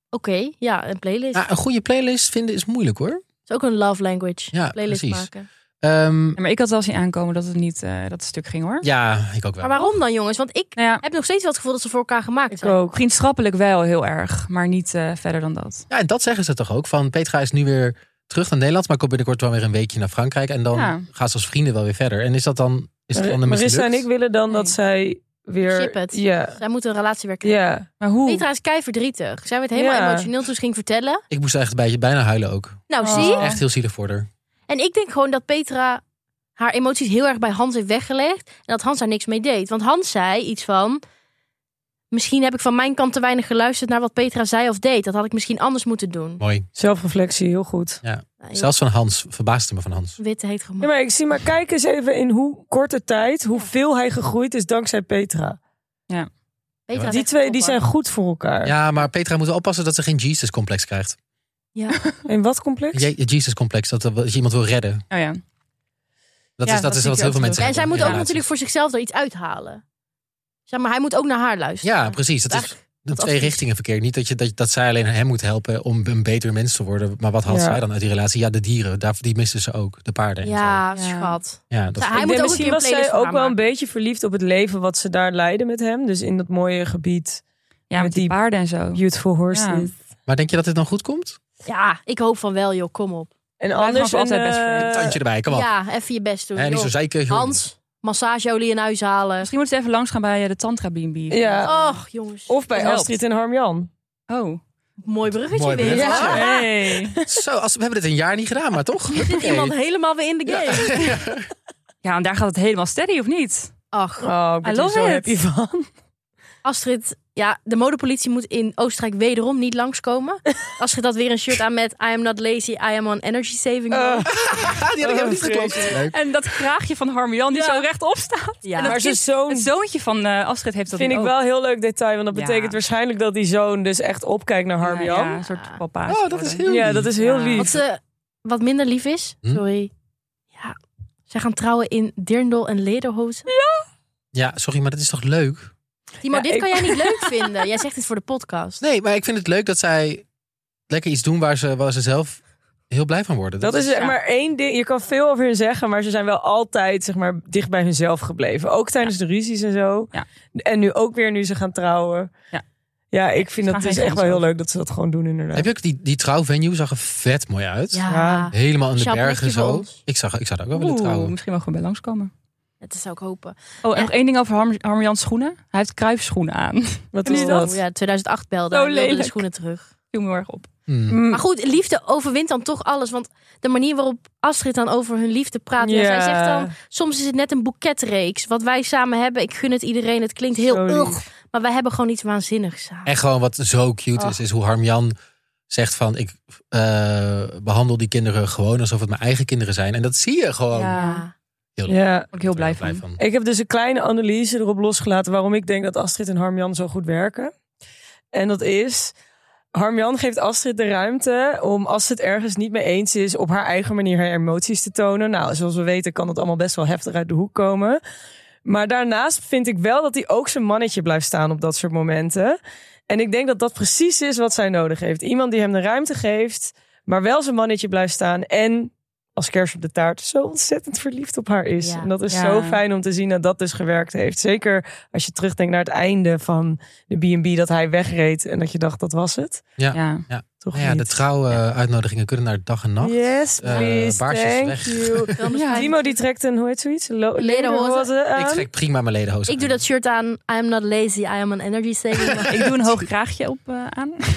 Speaker 2: Oké, ja, een playlist.
Speaker 1: Ja, een goede playlist vinden is moeilijk hoor.
Speaker 2: is ook een love language.
Speaker 1: Ja,
Speaker 2: playlist
Speaker 1: precies.
Speaker 2: maken.
Speaker 1: Ehm,
Speaker 5: Ja, maar ik had wel zien aankomen dat het niet eh, dat het stuk ging hoor.
Speaker 1: ja, ik ook wel.
Speaker 2: Maar waarom dan, jongens? Want ik
Speaker 5: Nou ja,
Speaker 2: heb nog steeds wel het gevoel dat ze voor elkaar gemaakt
Speaker 4: Ik
Speaker 2: zijn.
Speaker 4: ook.
Speaker 5: vriendschappelijk wel heel erg, maar niet eh, verder dan dat.
Speaker 1: Ja, en dat zeggen ze toch ook. Van Petra is nu weer terug naar Nederland, maar komt binnenkort wel weer een weekje naar Frankrijk. En dan
Speaker 5: Ja.
Speaker 1: gaat ze als vrienden wel weer verder. En is dat dan, is dat dan een
Speaker 4: Marissa en
Speaker 1: mislukt?
Speaker 4: ik willen dan dat
Speaker 5: Nee.
Speaker 4: zij weer...
Speaker 2: Ship het.
Speaker 4: Ja,
Speaker 2: Zij moeten een relatie weer krijgen.
Speaker 4: ja.
Speaker 5: Maar hoe?
Speaker 2: Petra is kei verdrietig. Zij werd helemaal
Speaker 4: Ja.
Speaker 2: emotioneel toen ze ging vertellen.
Speaker 1: Ik moest echt bij, bijna huilen ook.
Speaker 2: Nou,
Speaker 5: Oh.
Speaker 2: zie je?
Speaker 1: Echt heel zielig voor haar.
Speaker 2: En ik denk gewoon dat Petra haar emoties heel erg bij Hans heeft weggelegd. En dat Hans daar niks mee deed. Want Hans zei iets van... Misschien heb ik van mijn kant te weinig geluisterd naar wat Petra zei of deed. Dat had ik misschien anders moeten doen.
Speaker 1: Mooi.
Speaker 4: Zelfreflectie, heel goed.
Speaker 2: Nou, joh,
Speaker 1: Zelfs van Hans. Verbaasde me van Hans.
Speaker 2: Witte heet
Speaker 4: Ja,
Speaker 2: gewoon.
Speaker 4: maar ik zie maar, kijk eens even in hoe korte tijd, hoeveel hij gegroeid is dankzij Petra.
Speaker 2: Petra is
Speaker 4: Die
Speaker 2: echt
Speaker 4: twee die zijn
Speaker 2: topper.
Speaker 4: goed voor elkaar.
Speaker 1: Ja, maar Petra moet wel oppassen dat ze geen Jesus-complex krijgt.
Speaker 2: Ja.
Speaker 4: En wat complex?
Speaker 1: Je- Jesus-complex, dat, er- dat je iemand wil redden.
Speaker 5: Oh ja.
Speaker 1: Dat
Speaker 5: Ja,
Speaker 1: is, dat
Speaker 5: dat
Speaker 1: is
Speaker 5: zie
Speaker 1: wat
Speaker 5: ik
Speaker 1: heel veel
Speaker 5: ook
Speaker 1: mensen
Speaker 2: Ja, en zij
Speaker 1: hebben in
Speaker 2: moet ook
Speaker 1: relaties.
Speaker 2: natuurlijk voor zichzelf er iets uithalen. Zeg maar, hij moet ook naar haar luisteren.
Speaker 1: Ja, precies. Dat is
Speaker 2: Eigenlijk-
Speaker 1: de
Speaker 2: dat
Speaker 1: twee
Speaker 2: advies.
Speaker 1: richtingen verkeerd. Niet dat, je, dat, dat zij alleen hem moet helpen om een beter mens te worden. Maar wat had
Speaker 4: Ja.
Speaker 1: zij dan uit die relatie? Ja, de dieren. Daar, die misten ze ook. De paarden en zo.
Speaker 2: Ja,
Speaker 5: Ja.
Speaker 2: schat.
Speaker 1: Ja, dat
Speaker 2: Zij- hij
Speaker 4: Ik
Speaker 2: moet ook een
Speaker 4: denk
Speaker 2: keer
Speaker 4: misschien
Speaker 2: een
Speaker 4: was
Speaker 2: playlist
Speaker 4: zij
Speaker 2: voor
Speaker 4: ook
Speaker 2: haar
Speaker 4: wel een
Speaker 2: maken.
Speaker 4: beetje verliefd op het leven wat ze daar leiden met hem. Dus in dat mooie gebied
Speaker 5: ja, met die
Speaker 4: die-
Speaker 5: paarden en zo.
Speaker 4: Beautiful Horses.
Speaker 1: Maar denk je dat dit dan goed komt?
Speaker 2: Ja, ik hoop van wel, joh. Kom op.
Speaker 4: En
Speaker 5: Blijf
Speaker 4: anders
Speaker 5: maar
Speaker 4: een,
Speaker 5: altijd best
Speaker 4: eh,
Speaker 5: friend.
Speaker 1: Tandje erbij, kom op.
Speaker 2: Ja, even je best doen.
Speaker 1: Hè, niet
Speaker 2: joh.
Speaker 1: zo zeiken. joh.
Speaker 2: Hans, massageolie in huis halen.
Speaker 5: Misschien moeten ze even langs gaan bij eh, de Tantra B&B.
Speaker 4: Ja.
Speaker 2: Och, jongens.
Speaker 4: Of bij
Speaker 5: Dat helpt.
Speaker 4: Astrid en Harmjan.
Speaker 5: Oh.
Speaker 2: Mooi bruggetje
Speaker 1: Mooi
Speaker 2: weer.
Speaker 1: bruggetje.
Speaker 2: Ja.
Speaker 5: Hey.
Speaker 1: Zo, als, we hebben dit een jaar niet gedaan, maar toch?
Speaker 2: Zit
Speaker 1: Oké. Ah,
Speaker 2: iemand helemaal weer in de game?
Speaker 5: Ja, en daar gaat het helemaal steady, of niet?
Speaker 2: Ach,
Speaker 4: Oh, ik ben
Speaker 5: I
Speaker 4: er
Speaker 5: love
Speaker 4: zo
Speaker 5: it.
Speaker 4: happy van.
Speaker 2: Astrid, ja, de modepolitie moet in Oostenrijk wederom niet langskomen. Astrid had weer een shirt aan met I am not lazy, I am on energy saving.
Speaker 4: Eh,
Speaker 2: mode.
Speaker 1: die had ik ook niet geklopt. Leuk.
Speaker 5: En dat kraagje van Harmian die
Speaker 4: Ja.
Speaker 5: zo rechtop staat.
Speaker 2: ja.
Speaker 5: en dat
Speaker 4: maar zijn
Speaker 5: kind-
Speaker 4: zoon
Speaker 5: Het zoontje van eh Astrid heeft dat
Speaker 4: vind ik
Speaker 5: ook.
Speaker 4: wel een heel leuk detail. Want dat
Speaker 5: Ja.
Speaker 4: betekent waarschijnlijk dat die zoon dus echt opkijkt naar Harmjan.
Speaker 5: Ja,
Speaker 4: Ja,
Speaker 5: ja, een soort papa.
Speaker 1: Oh, dat is heel
Speaker 4: dat is heel
Speaker 5: Ja.
Speaker 2: Wat,
Speaker 4: lief.
Speaker 2: ze, wat minder lief is,
Speaker 1: Hm?
Speaker 2: sorry. Ja, zij gaan trouwen in dirndl en lederhozen.
Speaker 1: Ja, sorry, maar dat is toch leuk?
Speaker 2: Timo,
Speaker 4: Ja,
Speaker 2: dit
Speaker 4: ik-
Speaker 2: kan jij niet leuk vinden. Jij zegt dit voor de podcast.
Speaker 1: Nee, maar ik vind het leuk dat zij lekker iets doen waar ze, waar ze zelf heel blij van worden.
Speaker 4: Dat is zeg maar één ding. Je kan veel over hun zeggen, maar ze zijn wel altijd zeg maar, dicht bij hunzelf gebleven. Ook tijdens de ruzies en zo.
Speaker 5: Ja.
Speaker 4: En nu ook weer nu ze gaan trouwen.
Speaker 5: Ja.
Speaker 4: ja ik vind
Speaker 5: Ze
Speaker 4: dat
Speaker 5: gaan
Speaker 4: is
Speaker 5: geen
Speaker 4: echt wel heel
Speaker 5: grens
Speaker 4: leuk dat ze dat gewoon doen inderdaad.
Speaker 1: Heb je ook die, die trouwvenue? Zag er vet mooi uit.
Speaker 2: Ja,
Speaker 4: Ja.
Speaker 1: Helemaal in de
Speaker 2: Chapeau
Speaker 1: bergen
Speaker 2: voor
Speaker 1: zo.
Speaker 2: ons.
Speaker 1: Ik, zag, ik zou daar ook wel
Speaker 5: Oeh,
Speaker 1: willen trouwen.
Speaker 5: misschien mogen we bij langskomen.
Speaker 2: dat zou ik hopen.
Speaker 5: Oh, en
Speaker 2: Ja.
Speaker 5: nog één ding over Harm, Harmian's schoenen. Hij heeft kruifschoenen aan.
Speaker 4: Wat
Speaker 5: Ken
Speaker 4: is
Speaker 5: je
Speaker 4: dat?
Speaker 2: Oh, ja, 2008 belde.
Speaker 5: Zo
Speaker 2: en wilde de
Speaker 5: lelijk.
Speaker 2: schoenen terug.
Speaker 5: Viel me heel erg op.
Speaker 1: Hmm.
Speaker 4: Mm.
Speaker 2: Maar goed, liefde overwint dan toch alles. Want de manier waarop Astrid dan over hun liefde praat. Ja. Zij zegt dan, soms is het net een boeketreeks. Wat wij samen hebben, ik gun het iedereen. Het klinkt heel
Speaker 4: Zo lief.
Speaker 2: ugh. Maar wij hebben gewoon iets waanzinnigs samen.
Speaker 1: En gewoon wat zo cute is,
Speaker 2: Ach.
Speaker 1: is hoe Harmjan zegt van... ik eh, behandel die kinderen gewoon alsof het mijn eigen kinderen zijn. En dat zie je gewoon.
Speaker 5: Ja.
Speaker 2: Ja.
Speaker 1: Heel leuk.
Speaker 4: Ja.
Speaker 5: Ook heel blij
Speaker 1: Daar ben
Speaker 5: van.
Speaker 1: ik
Speaker 4: Ik heb dus een kleine analyse erop losgelaten waarom ik denk dat Astrid en Harmjan zo goed werken. En dat is, Harmjan geeft Astrid de ruimte om als ze het ergens niet mee eens is, op haar eigen manier haar emoties te tonen. Nou, zoals we weten kan dat allemaal best wel heftig uit de hoek komen. Maar daarnaast vind ik wel dat hij ook zijn mannetje blijft staan op dat soort momenten. En ik denk dat dat precies is wat zij nodig heeft. Iemand die hem de ruimte geeft, maar wel zijn mannetje blijft staan. En als kers op de taart zo ontzettend verliefd op haar is.
Speaker 2: Ja.
Speaker 4: En dat is
Speaker 5: Ja.
Speaker 4: zo fijn om te zien dat dat dus gewerkt heeft. Zeker als je terugdenkt naar het einde van de B&B dat hij wegreed. En dat je dacht, dat was het.
Speaker 1: Ja.
Speaker 5: Ja.
Speaker 4: Toch
Speaker 1: Nou ja, de
Speaker 4: niet?
Speaker 1: trouwuitnodigingen kunnen naar dag en nacht.
Speaker 4: Yes,
Speaker 1: Eh,
Speaker 4: please,
Speaker 1: baarsjes
Speaker 4: thank
Speaker 1: weg.
Speaker 4: you. Timo die trekt een, hoe heet zoiets? Lo-
Speaker 2: Lederhozen.
Speaker 4: lederhozen aan.
Speaker 1: Ik trek prima mijn ledenhozen
Speaker 2: Ik doe dat shirt aan. I am not lazy, I am an energy saving.
Speaker 5: Ik doe een hoog kraagje op eh, aan.
Speaker 4: Eh,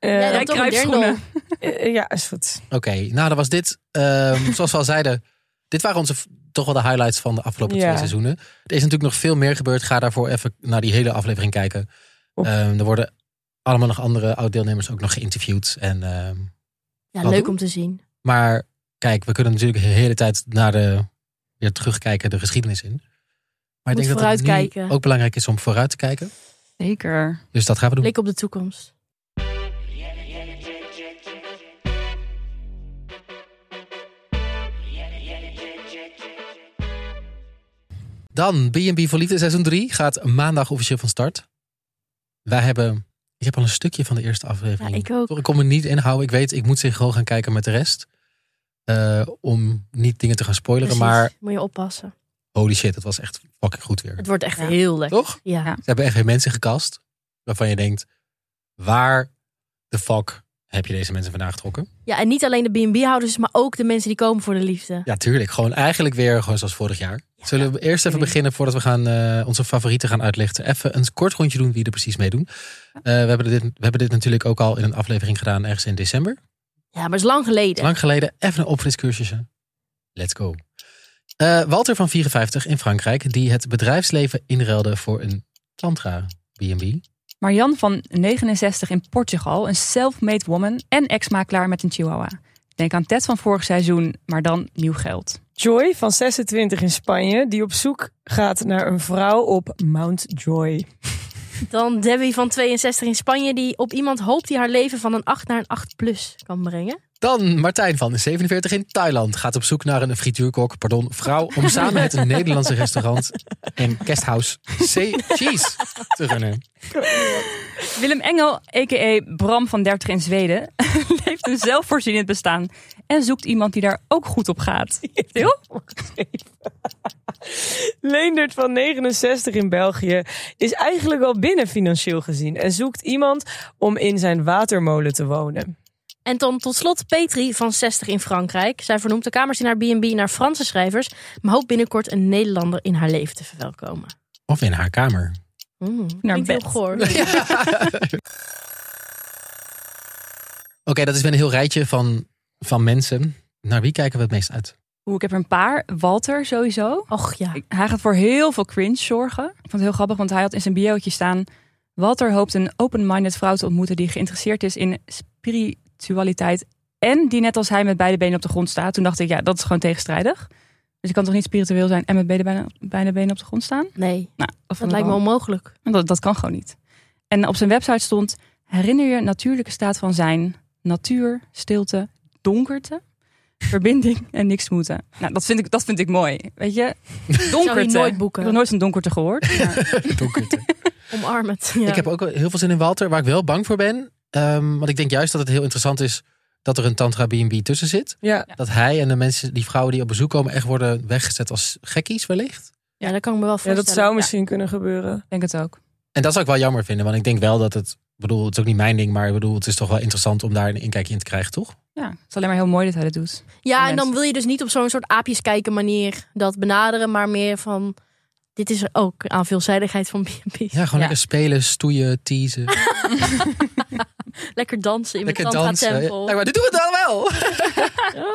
Speaker 2: Jij
Speaker 5: Jij
Speaker 2: dan toch een
Speaker 5: kruipschoenen.
Speaker 2: dirndl.
Speaker 4: eh, ja, is goed.
Speaker 1: Oké, nou dan was dit, ehm, zoals we al zeiden, dit waren onze v- toch wel de highlights van de afgelopen
Speaker 4: Ja.
Speaker 1: twee seizoenen. Er is natuurlijk nog veel meer gebeurd. Ga daarvoor even naar die hele aflevering kijken.
Speaker 4: Op.
Speaker 1: Ehm, er worden allemaal nog andere oud-deelnemers ook nog geïnterviewd. En, ehm,
Speaker 2: Ja,
Speaker 1: Wat
Speaker 2: leuk
Speaker 1: doen?
Speaker 2: om te zien.
Speaker 1: maar kijk, we kunnen natuurlijk de hele tijd naar de, weer terugkijken de geschiedenis in. Maar
Speaker 2: Moet
Speaker 1: ik denk dat het nu
Speaker 2: vooruitkijken.
Speaker 1: ook belangrijk is om vooruit te kijken.
Speaker 5: Zeker.
Speaker 1: Dus dat gaan we doen.
Speaker 2: Blik op de toekomst.
Speaker 1: Dan, B&B voor Liefde seizoen 3 gaat maandag officieel van start. Wij hebben, ik heb al een stukje van de eerste aflevering.
Speaker 2: Ja, ik ook.
Speaker 1: Toch, ik kon me niet inhouden. Ik weet, ik moet zich gewoon gaan kijken met de rest. eh, om niet dingen te gaan spoileren.
Speaker 2: Precies.
Speaker 1: Maar
Speaker 2: Moet je oppassen.
Speaker 1: holy shit, het was echt fucking goed weer.
Speaker 2: Het wordt echt
Speaker 3: Ja.
Speaker 2: heel lekker.
Speaker 1: Toch?
Speaker 2: Ja.
Speaker 3: Ja.
Speaker 1: Ze hebben echt weer mensen gecast waarvan je denkt, waar de fuck heb je deze mensen vandaan getrokken?
Speaker 2: ja, en niet alleen de B&B-houders, maar ook de mensen die komen voor de liefde.
Speaker 1: Ja, tuurlijk. Gewoon eigenlijk weer gewoon zoals vorig jaar. Zullen we eerst even beginnen voordat we gaan, eh, onze favorieten gaan uitlichten. Even een kort rondje doen wie er precies meedoen. Eh, we, hebben dit, we hebben dit natuurlijk ook al in een aflevering gedaan ergens in december.
Speaker 2: Ja, maar het is lang geleden.
Speaker 1: Lang geleden, even een opfriscursusje. Let's go. Eh, Walter van 54 in Frankrijk, die het bedrijfsleven inruilde voor een tantra B&B.
Speaker 5: Marjan van 69 in Portugal, een self-made woman en ex-makelaar met een chihuahua. Denk aan Ted van vorig seizoen, maar dan nieuw geld.
Speaker 4: Joy van 26 in Spanje, die op zoek gaat naar een vrouw op Mount Joy.
Speaker 2: Dan Debbie van 62 in Spanje, die op iemand hoopt die haar leven van een 8 naar een 8 plus kan brengen.
Speaker 1: Dan Martijn van 47 in Thailand gaat op zoek naar een frituurkok, pardon, vrouw om samen met een Nederlandse restaurant en guesthouse C Cheese te runnen.
Speaker 5: Willem Engel, a.k.a. Bram van 30 in Zweden, leeft een zelfvoorzienend bestaan. En zoekt iemand die daar ook goed op gaat. Stil?
Speaker 4: Leendert van 69 in België is eigenlijk al binnen financieel gezien en zoekt iemand om in zijn watermolen te wonen.
Speaker 2: En dan tot slot Petri van 60 in Frankrijk. Zij vernoemt de kamers in haar B&B naar Franse schrijvers, maar hoopt binnenkort een Nederlander in haar leven te verwelkomen.
Speaker 1: Of in haar kamer.
Speaker 2: Mm,
Speaker 5: Naar
Speaker 2: klinkt heel
Speaker 5: bed.
Speaker 2: goor.
Speaker 1: Oké, dat is weer een heel rijtje van, van mensen. Naar wie kijken we het meest uit?
Speaker 5: Oeh, ik heb er een paar. Walter sowieso.
Speaker 2: Och ja.
Speaker 5: Ik- Hij gaat voor heel veel cringe zorgen. Ik vond het heel grappig, want hij had in zijn biootje staan... Walter hoopt een open-minded vrouw te ontmoeten die geïnteresseerd is in spiritualiteit... en die net als hij met beide benen op de grond staat. Toen dacht ik, ja, dat is gewoon tegenstrijdig. Dus je kan toch niet spiritueel zijn en met beide benen, beide benen op de grond staan?
Speaker 2: Nee,
Speaker 5: Nou, dat, vond
Speaker 2: dat
Speaker 5: ik
Speaker 2: lijkt me
Speaker 5: wel-
Speaker 2: onmogelijk.
Speaker 5: dat, dat kan gewoon niet. En op zijn website stond... herinner je natuurlijke staat van zijn... natuur, stilte, donkerte... verbinding en niks moeten. Nou, dat vind ik, dat vind ik mooi. Weet je,
Speaker 2: Zou je
Speaker 5: donkerte.
Speaker 2: nooit
Speaker 5: Ik heb nog
Speaker 2: boeken.
Speaker 5: nooit een donkerte gehoord. maar-
Speaker 1: Donkerte.
Speaker 2: Omarm het. Ja.
Speaker 1: Ik heb ook heel veel zin in Walter, waar ik wel bang voor ben. Ehm, want ik denk juist dat het heel interessant is dat er een tantra B&B tussen zit.
Speaker 4: Ja,
Speaker 1: Dat hij en de mensen, die vrouwen die op bezoek komen, echt worden weggezet als gekkies wellicht.
Speaker 2: ja, dat kan ik me wel
Speaker 4: ja
Speaker 2: voorstellen.
Speaker 4: dat zou misschien kunnen gebeuren.
Speaker 5: denk het ook.
Speaker 1: En dat zou ik wel jammer vinden, want ik denk wel dat het, ik bedoel, het is ook niet mijn ding, maar ik bedoel, het is toch wel interessant om daar een inkijkje in te krijgen, toch?
Speaker 5: Ja, het is alleen maar heel mooi dat hij dat doet.
Speaker 2: Ja, en dan
Speaker 5: Mensen.
Speaker 2: wil je dus niet op zo'n soort aapjes kijken manier dat benaderen, maar meer van dit is er ook aan veelzijdigheid van B&B.
Speaker 1: Ja, gewoon
Speaker 5: Ja.
Speaker 1: lekker spelen, stoeien, teasen,
Speaker 2: Lekker dansen in de
Speaker 1: lekker
Speaker 2: tantra
Speaker 1: dansen.
Speaker 2: tempel.
Speaker 1: Ja, maar dit doen we dan wel.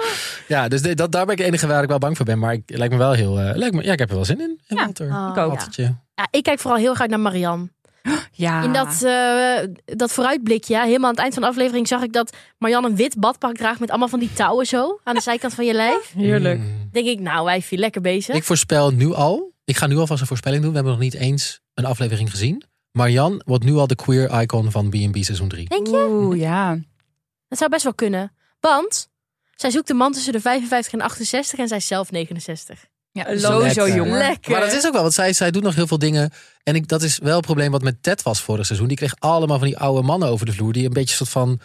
Speaker 1: ja, dus dit- dat, daar ben ik de enige waar ik wel bang voor ben, maar ik het lijkt me wel heel, eh, lijkt me, ja, ik heb er wel zin in. in
Speaker 5: Ja.
Speaker 1: Walter.
Speaker 2: Oh,
Speaker 5: Ik ook.
Speaker 2: Ja.
Speaker 1: Waltertje.
Speaker 2: Ja, ik kijk vooral heel erg uit naar Marianne.
Speaker 1: Ah.
Speaker 5: Ja.
Speaker 2: In dat, eh, dat vooruitblikje, ja, helemaal aan het eind van de aflevering, zag ik dat Marianne een wit badpak draagt met allemaal van die touwen zo aan de zijkant van je lijf.
Speaker 4: Heerlijk.
Speaker 1: Mm.
Speaker 2: Denk ik, nou, wijfie, lekker bezig.
Speaker 1: Ik voorspel nu al. Ik ga nu alvast een voorspelling doen. We hebben nog niet eens een aflevering gezien. Marian wordt nu al de queer icon van B&B seizoen 3.
Speaker 2: Denk je?
Speaker 5: Oeh, ja.
Speaker 2: Dat zou best wel kunnen. Want zij zoekt een man tussen de 55 en 68 en zij is zelf 69.
Speaker 5: ja
Speaker 4: Lekker.
Speaker 5: sowieso jonger.
Speaker 2: Lekker.
Speaker 1: Maar dat is ook wel, want zij, zij doet nog heel veel dingen. En ik, dat is wel het probleem wat met Ted was vorig seizoen. Die kreeg allemaal van die oude mannen over de vloer. Die een beetje soort van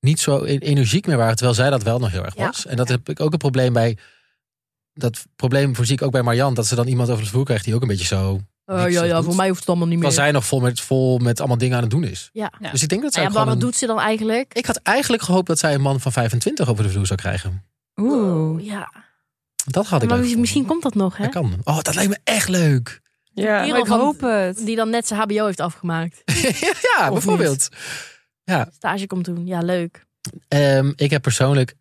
Speaker 1: niet zo e- energiek meer waren. Terwijl zij dat wel nog heel erg
Speaker 2: Ja.
Speaker 1: was. En dat heb ik ook een probleem bij... Dat probleem voorzie ik ook bij Marian. Dat ze dan iemand over de vloer krijgt die ook een beetje zo...
Speaker 2: Oh
Speaker 1: Niks
Speaker 2: ja,
Speaker 1: zo
Speaker 2: ja,
Speaker 1: goed.
Speaker 2: voor mij hoeft het allemaal niet
Speaker 1: Terwijl
Speaker 2: meer.
Speaker 1: zij nog vol met, vol met allemaal dingen aan het doen is.
Speaker 2: Ja.
Speaker 5: Ja.
Speaker 1: Dus ik denk dat zij
Speaker 2: Nou ja,
Speaker 1: ook
Speaker 2: maar
Speaker 1: gewoon
Speaker 2: wat
Speaker 1: een-
Speaker 2: doet ze dan eigenlijk?
Speaker 1: Ik had eigenlijk gehoopt dat zij een man van 25 over de vloer zou krijgen.
Speaker 5: Oeh.
Speaker 2: Ja,
Speaker 1: Dat had ik leuk
Speaker 2: maar misschien
Speaker 1: gevonden.
Speaker 2: misschien komt dat nog, hè?
Speaker 1: Dat kan. Oh, dat lijkt me echt leuk.
Speaker 4: Ja.
Speaker 2: Kerel
Speaker 5: Maar ik
Speaker 2: van-
Speaker 5: hoop het.
Speaker 2: Die dan net zijn HBO heeft afgemaakt.
Speaker 1: ja,
Speaker 2: Of
Speaker 1: bijvoorbeeld.
Speaker 2: Stage komt doen. Ja, leuk.
Speaker 1: Ehm, ik heb persoonlijk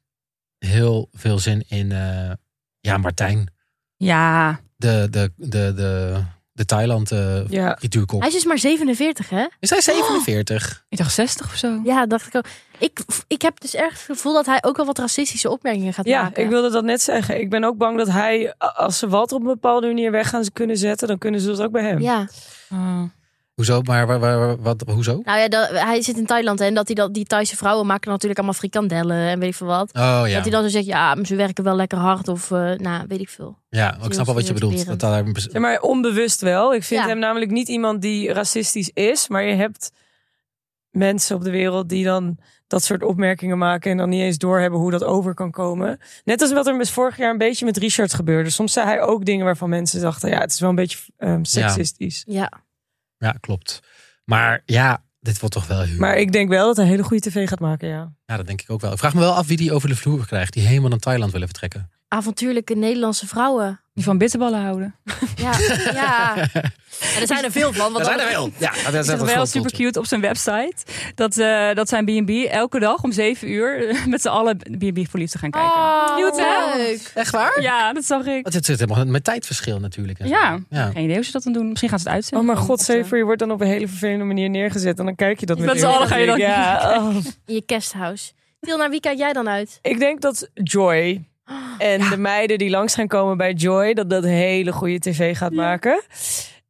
Speaker 1: heel veel zin in eh, ja, Martijn.
Speaker 5: Ja.
Speaker 1: De, de, de, de, de Thailand eh
Speaker 4: Ja.
Speaker 1: frituurkok.
Speaker 2: Hij is dus maar 47, hè?
Speaker 1: Is hij 47?
Speaker 5: Ik dacht 60 of zo.
Speaker 2: Ja, dacht ik ook. Ik, ik heb dus erg het gevoel dat hij ook wel wat racistische opmerkingen gaat
Speaker 4: Ja,
Speaker 2: maken.
Speaker 4: ik wilde dat net zeggen. Ik ben ook bang dat hij, a- als ze Walter op een bepaalde manier weg gaan kunnen zetten, dan kunnen ze dat ook bij hem.
Speaker 2: Ja,
Speaker 5: Oh.
Speaker 1: Hoezo? Maar waar, waar- waar- wat, hoezo?
Speaker 2: nou ja, dat, hij zit in Thailand hè, en dat, hij dat die Thaise vrouwen maken natuurlijk allemaal frikandellen en weet ik veel wat.
Speaker 1: Oh ja.
Speaker 2: Dat hij dan zo zegt, ja, maar ze werken wel lekker hard of, eh, nou, weet ik veel.
Speaker 1: Ja, ik snap wel wat je bedoelt. Dat daar...
Speaker 4: Ja, maar onbewust wel. Ik vind
Speaker 2: Ja.
Speaker 4: hem namelijk niet iemand die racistisch is, maar je hebt mensen op de wereld die dan dat soort opmerkingen maken en dan niet eens doorhebben hoe dat over kan komen. Net als wat er mis vorig jaar een beetje met Richard gebeurde. Soms zei hij ook dingen waarvan mensen dachten, ja, het is wel een beetje ehm, seksistisch.
Speaker 2: Ja.
Speaker 1: Ja, klopt. Maar ja, dit wordt toch wel heel...
Speaker 4: Maar ik denk wel dat hij een hele goede tv gaat maken, ja.
Speaker 1: Ja, dat denk ik ook wel. Ik vraag me wel af wie die over de vloer krijgt. Die helemaal naar Thailand willen vertrekken.
Speaker 2: Avontuurlijke Nederlandse vrouwen.
Speaker 5: Die van bitterballen houden.
Speaker 2: Ja. ja. En er zijn er veel van. Want dan-
Speaker 1: wel. Ja, dat is
Speaker 5: Dat is wel super cute op zijn website. Dat, eh, dat zijn B&B elke dag om 7 uur eh, met z'n allen B&B voor liefde gaan kijken.
Speaker 4: Ah.
Speaker 2: Oh,
Speaker 5: Cute, hè?
Speaker 2: leuk.
Speaker 1: Echt waar?
Speaker 5: Ja, dat zag ik.
Speaker 1: Want het zit helemaal met tijdverschil natuurlijk. en zo.
Speaker 5: Ja.
Speaker 1: ja.
Speaker 5: Geen idee hoe ze dat dan doen. Misschien gaan ze het
Speaker 4: Oh
Speaker 5: uitzenden.
Speaker 4: mijn god,
Speaker 5: Of,
Speaker 4: stel je
Speaker 5: eh,
Speaker 4: voor je wordt dan op een hele vervelende manier neergezet en dan kijk je dat
Speaker 5: Met
Speaker 4: met
Speaker 5: z'n allen ga je dan-
Speaker 4: Ja, oh.
Speaker 2: In je guesthouse. Til, naar wie kijk jij dan uit?
Speaker 4: Ik denk dat Joy en de meiden die langs gaan komen bij Joy, dat dat hele goede tv gaat maken.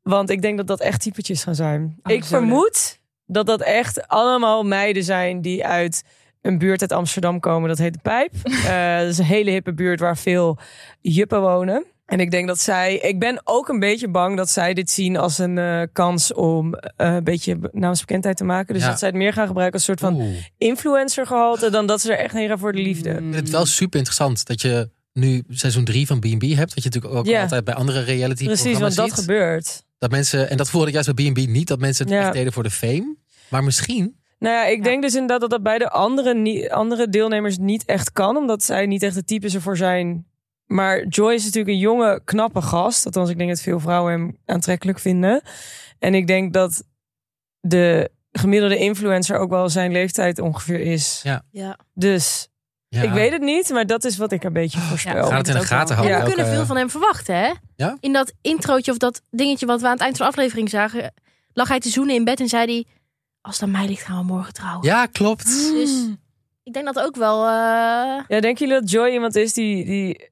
Speaker 4: Want ik denk dat dat echt typetjes gaan zijn.
Speaker 5: Oh,
Speaker 4: ik
Speaker 5: zo leuk.
Speaker 4: vermoed dat dat echt allemaal meiden zijn die uit een buurt uit Amsterdam komen. Dat heet De Pijp. Eh, dat is een hele hippe buurt waar veel juppen wonen. En ik denk dat zij. Ik ben ook een beetje bang dat zij dit zien als een eh, kans om eh, een beetje naamsbekendheid te maken. Dus
Speaker 1: Ja.
Speaker 4: dat zij het meer gaan gebruiken als soort van
Speaker 1: Oeh.
Speaker 4: influencer gehalte dan dat ze er echt heen gaan voor de liefde.
Speaker 5: Mm.
Speaker 1: Ik vind het wel super interessant dat je nu seizoen 3 van B&B hebt. Wat je natuurlijk ook
Speaker 4: Ja.
Speaker 1: altijd bij andere reality
Speaker 4: Precies,
Speaker 1: programma's
Speaker 4: want dat
Speaker 1: ziet.
Speaker 4: gebeurt.
Speaker 1: Dat mensen, en dat voelde ik juist bij B&B niet. Dat mensen het
Speaker 4: Ja.
Speaker 1: echt deden voor de fame. Maar misschien...
Speaker 4: Nou ja, ik denk dus inderdaad dat dat bij de andere, nie- andere deelnemers niet echt kan. Omdat zij niet echt de types ervoor zijn. Maar Joy is natuurlijk een jonge, knappe gast. Althans, ik denk dat veel vrouwen hem aantrekkelijk vinden. En ik denk dat de gemiddelde influencer ook wel zijn leeftijd ongeveer is.
Speaker 1: Ja.
Speaker 2: Ja.
Speaker 4: Dus
Speaker 1: Ja,
Speaker 4: ik weet het niet, maar dat is wat ik een beetje
Speaker 5: ja,
Speaker 4: voorspel.
Speaker 1: we gaan
Speaker 5: ik
Speaker 1: het in de
Speaker 5: ook wel.
Speaker 1: gaten
Speaker 5: En
Speaker 2: En
Speaker 1: houden.
Speaker 2: we kunnen
Speaker 1: Elke-
Speaker 2: veel van hem verwachten, hè?
Speaker 1: Ja?
Speaker 2: In dat introotje of dat dingetje wat we aan het eind van de aflevering zagen, lag hij te zoenen in bed en zei hij: Als het aan mij ligt, gaan we morgen trouwen.
Speaker 1: Ja, klopt.
Speaker 5: Mm.
Speaker 2: Dus ik denk dat ook wel. eh,
Speaker 4: Ja, denken jullie dat Joy iemand is die, die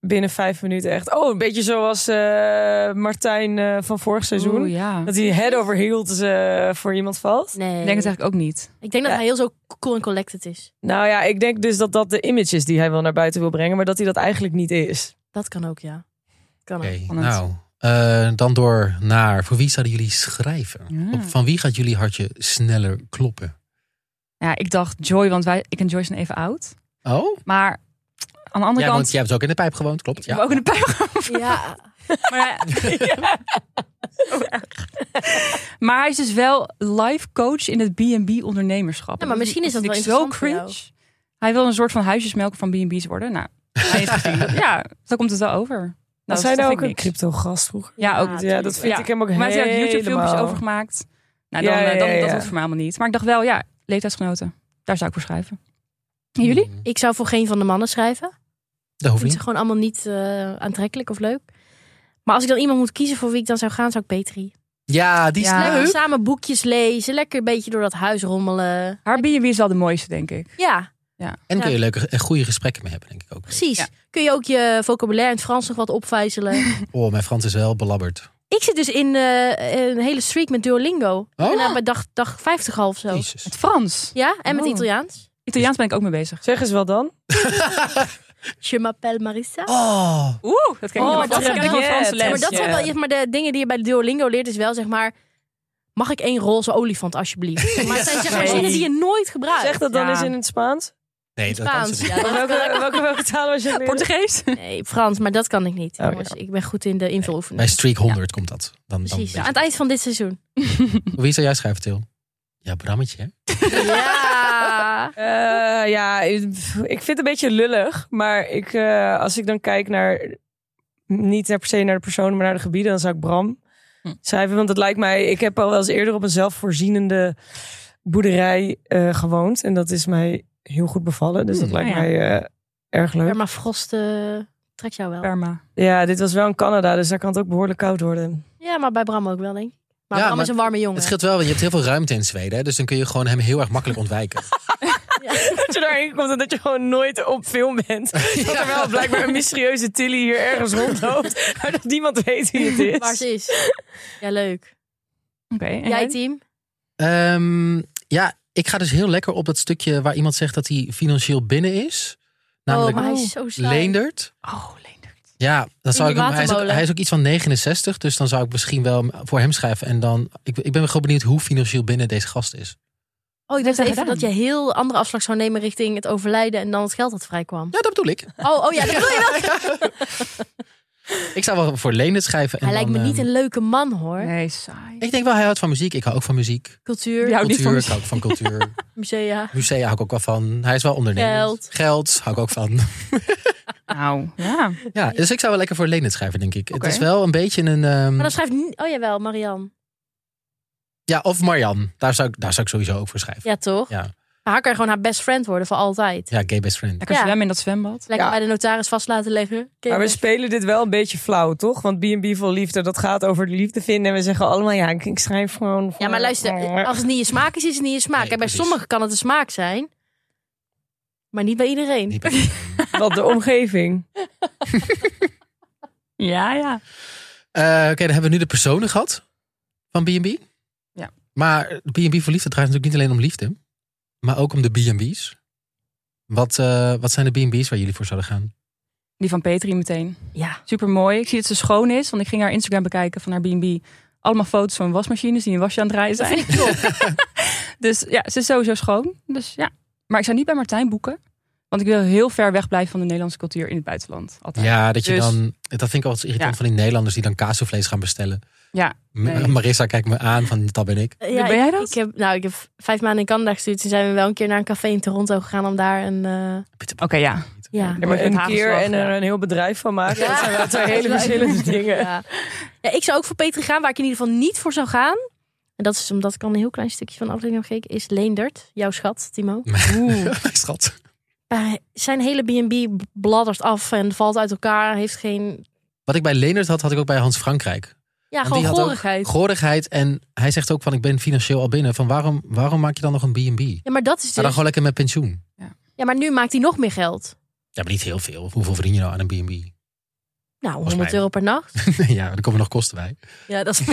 Speaker 4: binnen vijf minuten echt... Oh, een beetje zoals eh, Martijn eh, van vorig seizoen.
Speaker 5: Oeh, ja.
Speaker 4: Dat hij head over heels eh, voor iemand valt.
Speaker 2: nee.
Speaker 5: Ik denk het eigenlijk ook niet.
Speaker 2: Ik denk dat hij heel zo cool en collected is.
Speaker 4: Nou ja, ik denk dus dat dat de image is die hij wel naar buiten wil brengen, maar dat hij dat eigenlijk niet
Speaker 5: Nou,
Speaker 4: is.
Speaker 2: Dat kan ook, ja. Kan ook.
Speaker 1: Oké,
Speaker 5: Spannend.
Speaker 1: nou. eh, dan door naar voor wie zouden jullie schrijven?
Speaker 5: Ja.
Speaker 1: Op, van wie gaat jullie hartje sneller kloppen?
Speaker 5: Ja, ik dacht Joy, want wij, ik en Joy zijn even oud.
Speaker 1: Oh,
Speaker 5: Maar aan de
Speaker 1: ja,
Speaker 5: andere
Speaker 1: want
Speaker 5: kant...
Speaker 1: jij hebt ook in de pijp gewoond, klopt? Ja.
Speaker 5: we ook in de pijp.
Speaker 2: Ja.
Speaker 5: Maar, Oh, maar hij is dus wel life coach in het B&B ondernemerschap.
Speaker 2: Ja, maar misschien is dat
Speaker 5: vind
Speaker 2: wel
Speaker 5: ik zo
Speaker 2: interessant
Speaker 5: cringe. Hij wil een soort van huisjesmelker van B&B's worden. Nou, hij heeft gezien. ja, zo komt het wel over. Nou,
Speaker 4: Dat
Speaker 5: dat
Speaker 4: zijn
Speaker 5: vind
Speaker 4: nou
Speaker 5: ik
Speaker 4: ook een
Speaker 5: niks.
Speaker 4: crypto-gast vroeger.
Speaker 5: Ja, ook.
Speaker 4: Ja, dat vind
Speaker 5: Ja.
Speaker 4: ik hem ook
Speaker 5: Maar ze heeft
Speaker 4: helemaal.
Speaker 5: YouTube-filmpjes over gemaakt. Nou, dan,
Speaker 4: Ja,
Speaker 5: eh,
Speaker 4: ja,
Speaker 5: dan,
Speaker 4: ja, ja.
Speaker 5: dat hoeft voor mij allemaal niet. Maar ik dacht wel, ja, leeftijdsgenoten. Daar zou ik voor schrijven. En jullie?
Speaker 2: Ik zou voor geen van de mannen schrijven.
Speaker 1: Mm, Dat hoeft
Speaker 2: Ik vind
Speaker 1: niet.
Speaker 2: ze gewoon allemaal niet eh, aantrekkelijk of leuk. Maar als ik dan iemand moet kiezen voor wie ik dan zou gaan, zou ik Petri.
Speaker 1: Ja, die is
Speaker 5: Ja.
Speaker 1: leuk.
Speaker 2: Lekker samen boekjes lezen, lekker een beetje door dat huis rommelen.
Speaker 5: Haar B&B is wel de mooiste, denk ik.
Speaker 2: Ja,
Speaker 1: En
Speaker 2: Ja.
Speaker 1: kun je leuke en goede gesprekken mee hebben, denk ik ook.
Speaker 2: precies.
Speaker 5: Ja.
Speaker 2: Kun je ook je vocabulaire in het Frans nog wat opvijzelen.
Speaker 1: Oh, mijn Frans is wel belabberd.
Speaker 2: ik zit dus in eh, een hele streak met Duolingo.
Speaker 1: Oh.
Speaker 2: En bij dag, dag 50 al of zo.
Speaker 1: Jezus.
Speaker 5: Het Frans.
Speaker 2: Ja, en met
Speaker 5: Oh.
Speaker 2: Italiaans.
Speaker 5: Italiaans ben ik ook mee bezig.
Speaker 4: Zeg eens wel dan.
Speaker 2: Je m'appelle Marissa.
Speaker 1: Oh,
Speaker 5: Oeh, dat
Speaker 4: Oh,
Speaker 5: helemaal
Speaker 4: dat
Speaker 5: vast.
Speaker 4: is
Speaker 5: Kijk,
Speaker 4: een
Speaker 5: een Franse
Speaker 4: budget.
Speaker 5: les.
Speaker 2: maar dat zijn
Speaker 4: ja.
Speaker 2: wel, maar de dingen die je bij Duolingo leert is wel zeg maar... Mag ik één roze olifant alsjeblieft? Maar het zijn zeg maar
Speaker 4: Nee.
Speaker 2: zinnen die je nooit gebruikt.
Speaker 4: Zeg dat dan
Speaker 5: Ja.
Speaker 4: eens in het Spaans.
Speaker 1: nee, dat kan
Speaker 2: Spaans.
Speaker 1: ze niet.
Speaker 2: Ja, dat
Speaker 4: Welke, welke, welke taal was je aan het leren?
Speaker 5: Portugees.
Speaker 2: Nee, Frans, maar dat kan ik niet.
Speaker 4: Oh,
Speaker 2: jongens. Ik ben goed in de invuloefening.
Speaker 1: Bij Streak 100 komt dat. Dan, dan
Speaker 2: Precies,
Speaker 1: weet
Speaker 2: aan
Speaker 1: je.
Speaker 2: het eind van dit seizoen.
Speaker 1: Wie zou jij schrijven, Til? Ja, Brammetje, hè?
Speaker 2: Ja.
Speaker 4: Eh, ja, ik vind het een beetje lullig. Maar ik, eh, als ik dan kijk naar... Niet naar per se naar de personen, maar naar de gebieden... dan zou ik Bram
Speaker 5: Hm.
Speaker 4: schrijven. Want het lijkt mij... Ik heb al wel eens eerder op een zelfvoorzienende boerderij eh, gewoond. En dat is mij heel goed bevallen. Dus dat
Speaker 1: Hmm,
Speaker 4: lijkt
Speaker 5: ja.
Speaker 4: mij eh, erg leuk.
Speaker 2: Permafrost eh trekt jou wel.
Speaker 5: Perma.
Speaker 4: Ja, dit was wel in Canada, dus daar kan het ook behoorlijk koud worden.
Speaker 2: Ja, maar bij Bram ook wel, denk ik. Maar
Speaker 1: Ja,
Speaker 2: Bram
Speaker 1: maar
Speaker 2: is een warme jongen.
Speaker 1: Het scheelt wel, want je hebt heel veel ruimte in Zweden. hè, Dus dan kun je gewoon hem heel erg makkelijk ontwijken.
Speaker 4: Dat je daarheen komt en dat je gewoon nooit op film bent. Dat er wel blijkbaar een mysterieuze Tilly hier ergens rondloopt. Maar dat niemand weet wie het is.
Speaker 2: Waar ze is. Ja, leuk.
Speaker 5: Oké. en
Speaker 2: Jij
Speaker 5: jij?
Speaker 2: team?
Speaker 1: Ehm, ja, ik ga dus heel lekker op dat stukje waar iemand zegt dat hij financieel binnen is. Namelijk
Speaker 2: oh, maar hij is zo saai.
Speaker 1: Leendert.
Speaker 5: Oh, Leendert.
Speaker 1: Ja, dan zou ik
Speaker 2: die
Speaker 1: hem, hij, is ook,
Speaker 2: watermolen.
Speaker 1: hij is ook iets van 69, dus dan zou ik misschien wel voor hem schrijven. En dan, ik, ik ben wel gewoon benieuwd hoe financieel binnen deze gast is.
Speaker 2: Oh, ik dacht
Speaker 5: hij
Speaker 2: even
Speaker 5: gedaan?
Speaker 2: dat je heel andere afslag zou nemen richting het overlijden en dan het geld dat vrijkwam.
Speaker 1: Ja, dat bedoel ik.
Speaker 2: Oh, oh ja, dat bedoel je wel.
Speaker 1: Ik zou wel voor Leen het schrijven. En
Speaker 2: Hij lijkt me
Speaker 1: dan,
Speaker 2: niet
Speaker 1: ehm,
Speaker 2: een leuke man hoor.
Speaker 5: Nee, saai.
Speaker 1: Ik denk wel, hij houdt van muziek. Ik hou ook van muziek.
Speaker 2: Cultuur,
Speaker 5: Ja. houdt niet
Speaker 1: cultuur,
Speaker 5: van
Speaker 1: ik hou ook van cultuur.
Speaker 2: musea.
Speaker 1: Musea hou ik ook wel van. Hij is wel ondernemend.
Speaker 2: Geld.
Speaker 1: Geld hou ik ook van.
Speaker 5: Nou, ja.
Speaker 1: Ja, dus ik zou wel lekker voor Leen het schrijven, denk ik.
Speaker 5: Oké.
Speaker 1: Het is wel een beetje een... ehm,
Speaker 2: Maar dan schrijft niet. Oh jawel, Marianne.
Speaker 1: Ja, of Marian. Daar zou, ik, daar zou ik sowieso ook voor schrijven.
Speaker 2: Ja, toch?
Speaker 1: Ja.
Speaker 2: Maar haar kan gewoon haar best friend worden voor altijd.
Speaker 1: Ja, gay best friend.
Speaker 5: Lekker
Speaker 2: Ja.
Speaker 5: zwemmen in dat zwembad.
Speaker 2: Lekker
Speaker 4: Ja.
Speaker 2: bij de notaris vast laten leggen. Ken je
Speaker 4: Maar we
Speaker 2: dat?
Speaker 4: spelen dit wel een beetje flauw, toch? Want B&B vol liefde, dat gaat over de liefde vinden. En we zeggen allemaal, ja, ik ik schrijf gewoon... voor-
Speaker 2: Ja, maar luister, als het niet je smaak is, is het niet je smaak.
Speaker 1: Nee,
Speaker 2: en bij
Speaker 1: precies.
Speaker 2: sommigen kan het een smaak zijn, maar niet bij iedereen.
Speaker 1: Niet bij-
Speaker 4: Wat de omgeving.
Speaker 5: Ja, ja.
Speaker 1: Eh, Oké, dan hebben we nu de personen gehad van B&B.
Speaker 5: Ja.
Speaker 1: Maar B&B voor liefde draait natuurlijk niet alleen om liefde, maar ook om de B&B's. Wat, eh, wat zijn de B&B's waar jullie voor zouden gaan?
Speaker 5: Die van Petri meteen.
Speaker 2: Ja.
Speaker 5: Super mooi. Ik zie dat ze schoon is, want ik ging haar Instagram bekijken van haar B&B. Allemaal foto's van wasmachines die in een wasje aan het draaien zijn. dus ja, ze is sowieso schoon. Dus ja. Maar ik zou niet bij Martijn boeken. Want ik wil heel ver weg blijven van de Nederlandse cultuur in het buitenland. Altijd.
Speaker 1: Ja, dat je
Speaker 5: Dus-
Speaker 1: dan... Dat vind ik altijd zo irritant
Speaker 5: Ja.
Speaker 1: van die Nederlanders die dan kaasvlees gaan bestellen.
Speaker 5: Ja,
Speaker 1: M-
Speaker 5: nee.
Speaker 1: Marissa kijkt me aan van, dat ben ik.
Speaker 2: Ja,
Speaker 5: Ben jij
Speaker 2: ik-
Speaker 5: dat?
Speaker 2: Ik heb, nou, ik heb vijf maanden in Canada gestuurd. Toen zijn we wel een keer naar een café in Toronto gegaan om daar een... eh,
Speaker 1: Oké,
Speaker 5: Oké, ja.
Speaker 2: ja.
Speaker 4: Ja, maar
Speaker 5: Met
Speaker 4: een
Speaker 5: hagelslag,
Speaker 4: keer en er
Speaker 5: ja.
Speaker 4: een heel bedrijf van maken. Dat zijn wel twee hele
Speaker 2: Ja.
Speaker 4: verschillende dingen.
Speaker 2: Ja. ja, ik zou ook voor Petri gaan. Waar ik in ieder geval niet voor zou gaan. En dat is omdat ik al een heel klein stukje van de aflevering heb gekeken. Is Leendert, jouw schat, Timo.
Speaker 5: Oeh.
Speaker 1: Schat.
Speaker 2: Eh, zijn hele B&B bladdert af en valt uit elkaar. Heeft geen...
Speaker 1: Wat ik bij Leonard had, had ik ook bij Hans Frankrijk.
Speaker 2: Ja,
Speaker 1: En
Speaker 2: gewoon
Speaker 1: die had ook
Speaker 2: gorigheid.
Speaker 1: Gorigheid. En hij zegt ook van, ik ben financieel al binnen. Van waarom, waarom maak je dan nog een B&B?
Speaker 2: Ja, maar dat is
Speaker 1: Ga dan
Speaker 2: dus...
Speaker 1: gewoon lekker met pensioen.
Speaker 2: Ja, maar nu maakt hij nog meer geld.
Speaker 1: Ja, maar niet heel veel. Hoeveel verdien je nou aan een B&B?
Speaker 2: Nou,
Speaker 1: Volgens
Speaker 2: 100
Speaker 1: mij.
Speaker 2: euro per nacht.
Speaker 1: ja, er komen nog kosten bij.
Speaker 2: Ja, dat is...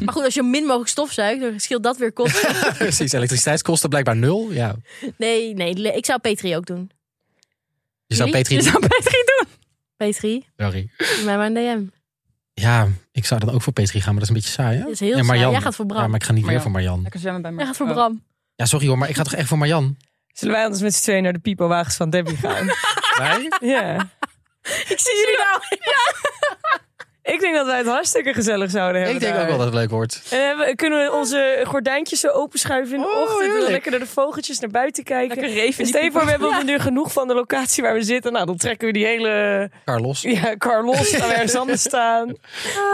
Speaker 2: maar goed, als je min mogelijk stofzuigt, dan scheelt dat weer kosten.
Speaker 1: Precies, elektriciteitskosten blijkbaar nul. Ja.
Speaker 2: Nee, nee, le- ik zou Petri ook doen.
Speaker 1: Je zou
Speaker 2: Jullie?
Speaker 1: Petri...
Speaker 5: zou Petri doen.
Speaker 2: Petri,
Speaker 1: Sorry.
Speaker 2: doe mij maar een DM.
Speaker 1: Ja, ik zou dan ook voor Petri gaan, maar dat is een beetje saai, hè?
Speaker 2: Dat is heel
Speaker 1: ja,
Speaker 2: saai.
Speaker 1: Marjan.
Speaker 2: Jij gaat voor Bram.
Speaker 1: Ja, maar ik ga niet
Speaker 5: Marjan.
Speaker 1: weer voor Marjan.
Speaker 5: Lekker zwemmen bij
Speaker 2: Jij
Speaker 5: Martijn.
Speaker 2: gaat voor Bram.
Speaker 1: Ja, sorry hoor, maar ik ga toch echt voor Marjan?
Speaker 4: Zullen wij anders met z'n tweeën naar de pipowagens van Debbie gaan?
Speaker 1: Wij?
Speaker 4: ja.
Speaker 2: Ik zie jullie nou. wel.
Speaker 4: Ik denk dat wij het hartstikke gezellig zouden hebben
Speaker 1: Ik denk
Speaker 4: daar.
Speaker 1: ook wel dat het leuk wordt.
Speaker 4: En hebben- kunnen we onze gordijntjes zo openschuiven in de
Speaker 1: Oh,
Speaker 4: ochtend? en
Speaker 1: heerlijk.
Speaker 4: dan lekker naar de vogeltjes naar buiten kijken.
Speaker 5: Lekker Oh, reven.
Speaker 4: Stel je voor, we hebben nu genoeg van de locatie waar we zitten. Nou, dan trekken we die hele
Speaker 1: Carlos.
Speaker 4: ja, car los. Gaan we ergens anders staan.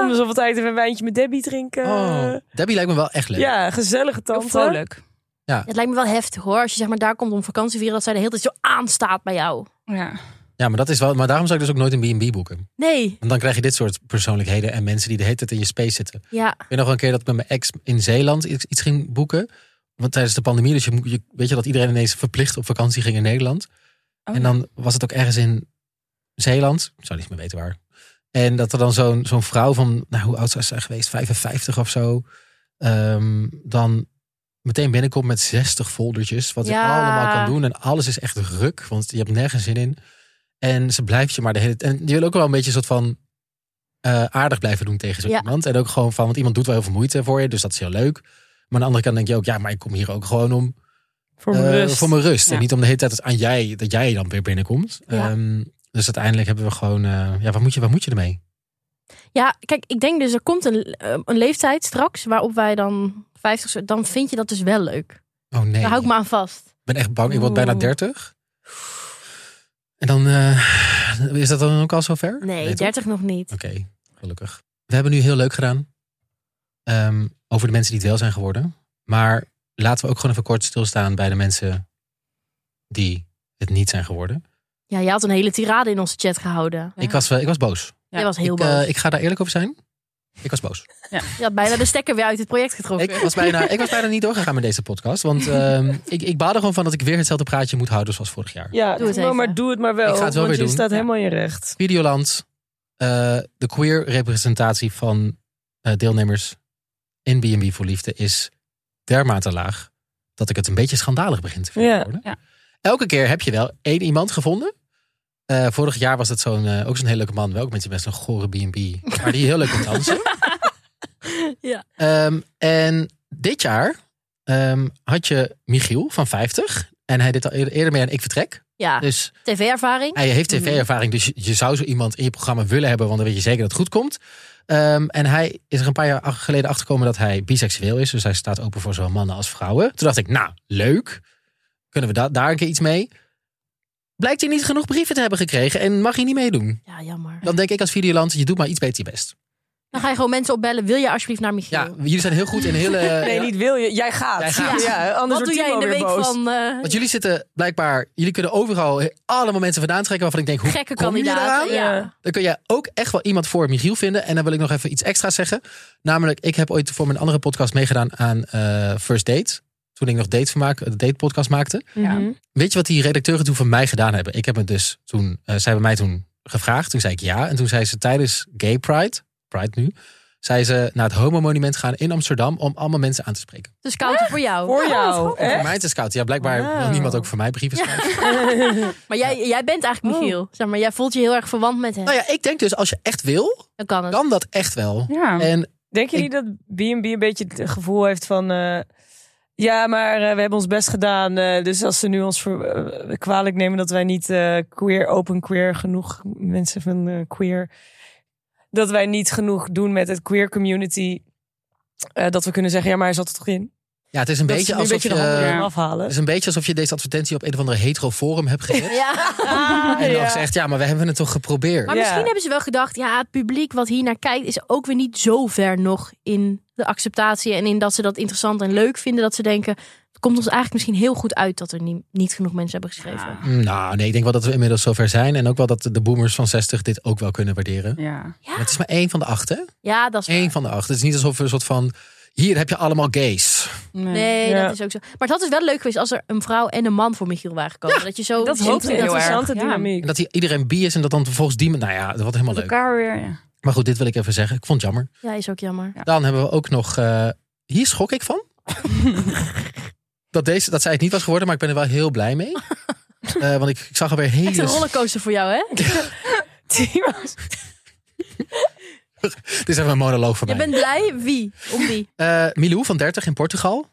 Speaker 4: Om de zoveel tijd even een wijntje met Debbie drinken.
Speaker 1: Oh, Debbie lijkt me wel echt leuk.
Speaker 4: ja, gezellige
Speaker 5: Heel
Speaker 4: tante.
Speaker 5: vrolijk.
Speaker 2: Het lijkt me wel heftig hoor. Als je zeg maar daar komt om vakantie te vieren, dat zij de hele tijd zo aanstaat bij jou.
Speaker 5: Ja.
Speaker 1: Ja, maar, dat is wel, maar daarom zou ik dus ook nooit een B&B boeken.
Speaker 2: Nee.
Speaker 1: Want dan krijg je dit soort persoonlijkheden en mensen die de hele tijd in je space zitten.
Speaker 2: Ja.
Speaker 1: Ik weet nog wel een keer dat ik met mijn ex in Zeeland iets iets ging boeken. Want tijdens de pandemie, dus je, moet- je, weet je dat iedereen ineens verplicht op vakantie ging in Nederland.
Speaker 5: Oh,
Speaker 1: en dan was het ook ergens in Zeeland. Ik zou niet meer weten waar. En dat er dan zo'n zo'n vrouw van, nou hoe oud zou ze zijn geweest? 55 of zo. ehm, dan meteen binnenkomt met 60 foldertjes. Wat je
Speaker 2: Ja.
Speaker 1: allemaal kan doen. En alles is echt ruk, want je hebt nergens zin in. En ze blijft je maar de hele tijd. En je wil ook wel een beetje een soort van eh, aardig blijven doen tegen zo
Speaker 2: Ja.
Speaker 1: iemand. En ook gewoon van, want iemand doet wel heel veel moeite voor je, dus dat is heel leuk. Maar aan de andere kant denk je ook, ja, maar ik kom hier ook gewoon om
Speaker 4: Voor mijn
Speaker 1: eh,
Speaker 4: rust.
Speaker 1: voor mijn rust.
Speaker 5: Ja.
Speaker 1: En niet om de hele tijd dat aan jij, dat jij dan weer binnenkomt.
Speaker 2: Ja.
Speaker 1: Ehm, dus uiteindelijk hebben we gewoon, eh, ja, wat moet je, wat moet je ermee?
Speaker 2: Ja, kijk, ik denk dus er komt een, eh, een leeftijd straks waarop wij dan 50 zijn. Dan vind je dat dus wel leuk.
Speaker 1: Oh nee,
Speaker 2: Daar Nou, hou ik me aan vast.
Speaker 1: ik ben echt bang. Ik word bijna
Speaker 5: Oeh.
Speaker 1: 30. En dan, eh, is dat dan ook al zover?
Speaker 2: Nee,
Speaker 1: toch?
Speaker 2: 30 nog niet.
Speaker 1: Oké, gelukkig. We hebben nu heel leuk gedaan ehm, over de mensen die het wel zijn geworden. Maar laten we ook gewoon even kort stilstaan bij de mensen die het niet zijn geworden.
Speaker 2: Ja, jij had een hele tirade in onze chat gehouden.
Speaker 5: Ja.
Speaker 1: Ik, was, eh, ik was boos.
Speaker 5: Ja,
Speaker 2: Jij was heel
Speaker 1: ik,
Speaker 2: boos.
Speaker 1: eh, ik ga daar eerlijk over zijn. Ik was boos.
Speaker 2: Je had bijna de stekker weer uit het project getrokken.
Speaker 1: Ik was, bijna, ik was bijna niet doorgegaan met deze podcast. Want ehm, ik, ik baal er gewoon van dat ik weer hetzelfde praatje moet houden zoals vorig jaar.
Speaker 4: Ja,
Speaker 2: Doe het
Speaker 4: maar,
Speaker 2: even.
Speaker 4: maar doe het maar wel.
Speaker 1: Ik ga het wel
Speaker 4: want
Speaker 1: weer
Speaker 4: je
Speaker 1: doen.
Speaker 4: staat
Speaker 5: Ja.
Speaker 4: helemaal in je recht.
Speaker 1: Videoland, eh, de queer representatie van eh, deelnemers in B&B voor Liefde is dermate laag dat ik het een beetje schandalig begin te vinden
Speaker 4: Ja,
Speaker 1: worden.
Speaker 5: ja.
Speaker 1: Elke keer heb je wel één iemand gevonden. Eh, vorig jaar was dat zo'n, eh, ook zo'n hele leuke man, wel ook met zijn best een gore B&B, maar die heel leuk kon dansen.
Speaker 2: Ja.
Speaker 1: Ehm, en dit jaar eh, ehm, had je Michiel van 50. En hij deed al eerder eerder mee aan Ik Vertrek.
Speaker 2: Ja,
Speaker 1: Dus
Speaker 2: tv-ervaring.
Speaker 1: hij heeft tv-ervaring. Dus je- je zou zo iemand in je programma willen hebben. Want dan weet je zeker dat het goed komt. Ehm, en hij is er een paar jaar ach- geleden achtergekomen dat hij biseksueel is. Dus hij staat open voor zowel mannen als vrouwen. Toen dacht ik, nou, leuk. Kunnen we da- daar een keer iets mee? Blijkt hij niet genoeg brieven te hebben gekregen. En mag hij niet meedoen.
Speaker 2: Ja, jammer.
Speaker 1: Dan denk ik als Videoland, je doet maar iets beter je best.
Speaker 2: Dan ga je gewoon mensen opbellen. Wil je alsjeblieft naar Michiel?
Speaker 1: Ja, jullie zijn heel goed in hele...
Speaker 4: Nee, niet wil je. Jij gaat.
Speaker 1: Jij gaat.
Speaker 4: Ja, anders
Speaker 2: Wat
Speaker 4: wordt
Speaker 2: doe jij in
Speaker 4: Timo
Speaker 2: de week
Speaker 4: weer boos.
Speaker 2: van eh,
Speaker 1: Want jullie zitten blijkbaar, jullie kunnen overal allemaal mensen vandaan trekken waarvan ik denk, hoe
Speaker 2: gekke
Speaker 1: kom je eraan?
Speaker 2: kandidaten? Ja.
Speaker 4: Ja.
Speaker 1: Dan kun jij ook echt wel iemand voor Michiel vinden. En dan wil ik nog even iets extra's zeggen. Namelijk, ik heb ooit voor mijn andere podcast meegedaan aan eh, First Date. Toen ik nog date vermaak, de date podcast maakte.
Speaker 3: Ja.
Speaker 4: Mhm.
Speaker 1: Weet je wat die redacteuren toen van mij gedaan hebben? Ik heb het dus toen, eh, zij hebben mij toen gevraagd. Toen zei ik ja. En toen zei ze tijdens Gay Pride, Pride nu, zei ze naar het homomonument gaan in Amsterdam om allemaal mensen aan te spreken.
Speaker 2: Dus counter voor jou.
Speaker 4: Voor jou.
Speaker 1: Voor
Speaker 4: Echt?
Speaker 1: mij te scout. Ja, blijkbaar wil
Speaker 4: Wauw.
Speaker 1: niemand ook voor mij brieven schrijven.
Speaker 2: Maar jij, jij bent eigenlijk
Speaker 4: Oh.
Speaker 2: Michiel. Zeg maar, jij voelt je heel erg verwant met hem.
Speaker 1: Nou ja, ik denk dus als je echt wil,
Speaker 2: Dan kan het.
Speaker 1: kan dat echt wel.
Speaker 3: Ja.
Speaker 5: Eh,
Speaker 1: En
Speaker 4: Denken
Speaker 1: Ik-
Speaker 4: jullie dat B&B een beetje het gevoel heeft van... eh, ja, maar eh, we hebben ons best gedaan. eh, dus als ze nu ons ver- eh, kwalijk nemen dat wij niet eh, queer, open queer genoeg... Mensen van eh, queer... Dat wij niet genoeg doen met het queer community. eh, dat we kunnen zeggen, ja, maar hij zat er toch in.
Speaker 1: ja, het is een
Speaker 4: Dat
Speaker 1: beetje
Speaker 4: ze nu een
Speaker 1: alsof
Speaker 4: beetje de
Speaker 1: je.
Speaker 4: handen
Speaker 1: Het
Speaker 4: ervan afhalen.
Speaker 1: is een beetje alsof je deze advertentie op een of andere hetero forum hebt gezet.
Speaker 2: Ja.
Speaker 4: Ah,
Speaker 1: En dan
Speaker 4: ja.
Speaker 1: zegt, ja, maar we hebben het toch geprobeerd.
Speaker 2: Maar
Speaker 4: Ja.
Speaker 2: misschien hebben ze wel gedacht, ja, het publiek wat hier naar kijkt is ook weer niet zo ver nog in de acceptatie en in dat ze dat interessant en leuk vinden. Dat ze denken, het komt ons eigenlijk misschien heel goed uit dat er niet, niet genoeg mensen hebben geschreven. Ja,
Speaker 1: Mm, Nou, nee, ik denk wel dat we inmiddels zover zijn. En ook wel dat de boomers van 60 dit ook wel kunnen waarderen.
Speaker 3: Ja.
Speaker 1: Maar Het is maar één van de acht, hè?
Speaker 2: dat is waar.
Speaker 1: Eén van de acht. Het is niet alsof we een soort van. Hier heb je allemaal gays.
Speaker 2: Nee,
Speaker 4: Ja.
Speaker 2: dat is ook zo. Maar het had dus wel leuk geweest als er een vrouw en een man voor Michiel waren gekomen. dat je zo
Speaker 3: dat hoopte ik heel erg.
Speaker 4: Interessante
Speaker 3: Ja.
Speaker 1: En
Speaker 4: dynamiek.
Speaker 1: dat die- iedereen bi is en dat dan vervolgens die. Nou ja, dat wordt helemaal
Speaker 3: Met
Speaker 1: leuk.
Speaker 3: elkaar weer. Ja.
Speaker 1: Maar goed, dit wil ik even zeggen. Ik vond het jammer.
Speaker 2: Ja, is ook jammer.
Speaker 1: Dan hebben we ook nog. eh, hier schok ik van. dat, deze, dat zij het niet was geworden, maar ik ben er wel heel blij mee. Eh, want ik, ik zag alweer
Speaker 2: Echt een
Speaker 1: hele.
Speaker 2: rollercoaster voor jou, hè?
Speaker 1: Dit is even een monoloog van
Speaker 2: Je
Speaker 1: mij.
Speaker 2: bent blij? Wie? Om wie?
Speaker 1: Eh, Milou van 30 in Portugal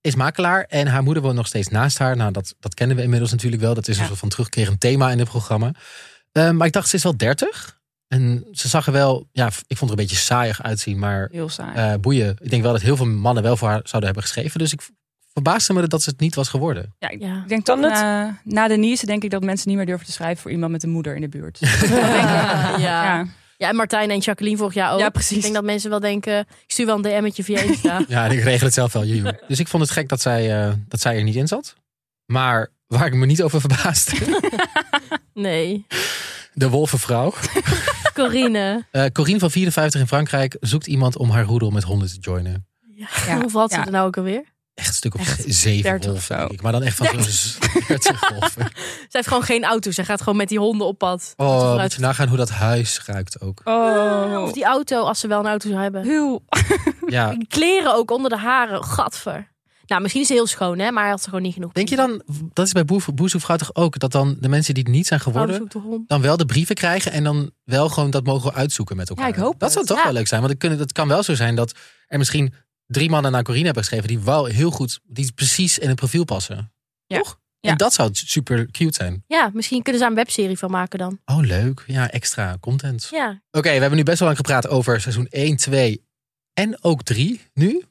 Speaker 1: is makelaar. En haar moeder woont nog steeds naast haar. Nou, dat, dat kennen we inmiddels natuurlijk wel. Dat is een soort van terugkerend thema in het programma. Eh, maar ik dacht, ze is wel 30. En ze zag er wel. Ja, ik vond er een beetje saaiig uitzien. Maar
Speaker 3: Heel saai.
Speaker 1: eh, boeien. Ik denk wel dat heel veel mannen wel voor haar zouden hebben geschreven. Dus ik verbaasde me dat ze het niet was geworden.
Speaker 2: Ja.
Speaker 3: Ik denk
Speaker 4: Kan
Speaker 3: dan
Speaker 4: het?
Speaker 3: na, na Denise denk ik dat mensen niet meer durven te schrijven voor iemand met een moeder in de buurt.
Speaker 2: Ja. ja.
Speaker 3: ja.
Speaker 2: en Martijn en Jacqueline vorig jaar ook.
Speaker 3: Ja, precies.
Speaker 2: Ik denk dat mensen wel denken, ik stuur wel een DM'tje via Insta.
Speaker 1: Ja, en ik regel het zelf wel. joejoe. Dus ik vond het gek dat zij, eh, dat zij er niet in zat. Maar waar ik me niet over verbaasde,
Speaker 2: Nee.
Speaker 1: de wolvenvrouw.
Speaker 2: Corine.
Speaker 1: Eh Corine van 54 in Frankrijk zoekt iemand om haar roedel met honden te joinen.
Speaker 3: Ja.
Speaker 2: Hoeveel had ze
Speaker 3: Ja.
Speaker 2: er nou ook alweer?
Speaker 1: Echt een stuk of zeven
Speaker 3: 30
Speaker 1: wolven,
Speaker 3: of zo.
Speaker 1: denk ik. Maar dan echt van zo'n 30 wolven.
Speaker 2: Ze heeft gewoon geen auto. Ze gaat gewoon met die honden op pad.
Speaker 1: Oh, nou- moet
Speaker 2: Vooruit.
Speaker 1: je nagaan hoe dat huis ruikt ook.
Speaker 2: Of
Speaker 3: Oh.
Speaker 2: die auto, als ze wel een auto zou hebben.
Speaker 3: Heel.
Speaker 1: Ja.
Speaker 2: Kleren ook onder de haren. Gadver. Nou, misschien is ze heel schoon, hè? Maar hij had ze gewoon niet genoeg.
Speaker 1: Denk je dan, dat is bij boef- boezemvrouw toch ook, dat dan de mensen die het niet zijn
Speaker 2: Vrouw
Speaker 1: geworden,
Speaker 2: zoekt de hond.
Speaker 1: dan wel de brieven krijgen en dan wel gewoon dat mogen we uitzoeken met elkaar.
Speaker 3: Ja, ik hoop
Speaker 1: dat
Speaker 3: het.
Speaker 1: zou toch
Speaker 2: Ja.
Speaker 1: wel leuk zijn. Want het, kunnen, het kan wel zo zijn dat er misschien drie mannen naar Corine hebben geschreven die wel heel goed, die precies in het profiel passen.
Speaker 3: Ja.
Speaker 1: Toch?
Speaker 3: Ja.
Speaker 1: En dat zou super cute zijn.
Speaker 2: Ja, misschien kunnen ze daar een webserie van maken dan.
Speaker 1: Oh, leuk. Ja, extra content.
Speaker 2: Ja.
Speaker 1: Oké, we hebben nu best wel lang gepraat over seizoen 1, 2 en ook 3 nu.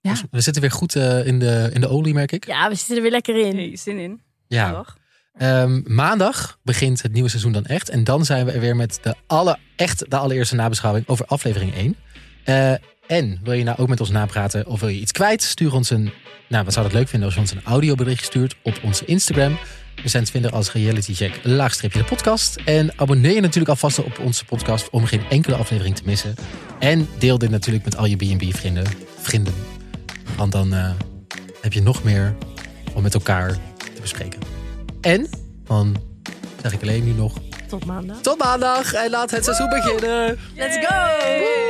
Speaker 3: Ja.
Speaker 1: Dus We zitten weer goed eh, in, de, in de olie, merk ik.
Speaker 2: Ja, we zitten er weer lekker in.
Speaker 3: Nee, zin in.
Speaker 1: Ja.
Speaker 3: Toch?
Speaker 1: Ehm, maandag begint het nieuwe seizoen dan echt. En dan zijn we er weer met de alle, echt de allereerste nabeschouwing over aflevering 1. Eh, en wil je nou ook met ons napraten of wil je iets kwijt? Stuur ons een, nou wat zou dat leuk vinden als je ons een audiobericht stuurt op onze Instagram. We zijn te vinden als realitycheck laagstreepje de podcast. En abonneer je natuurlijk alvast op onze podcast om geen enkele aflevering te missen. En deel dit natuurlijk met al je B&B vrienden. vrienden. Want dan eh, heb je nog meer om met elkaar te bespreken. En dan zeg ik alleen nu nog.
Speaker 2: Tot maandag.
Speaker 1: Tot maandag en laat het seizoen beginnen.
Speaker 2: Let's go!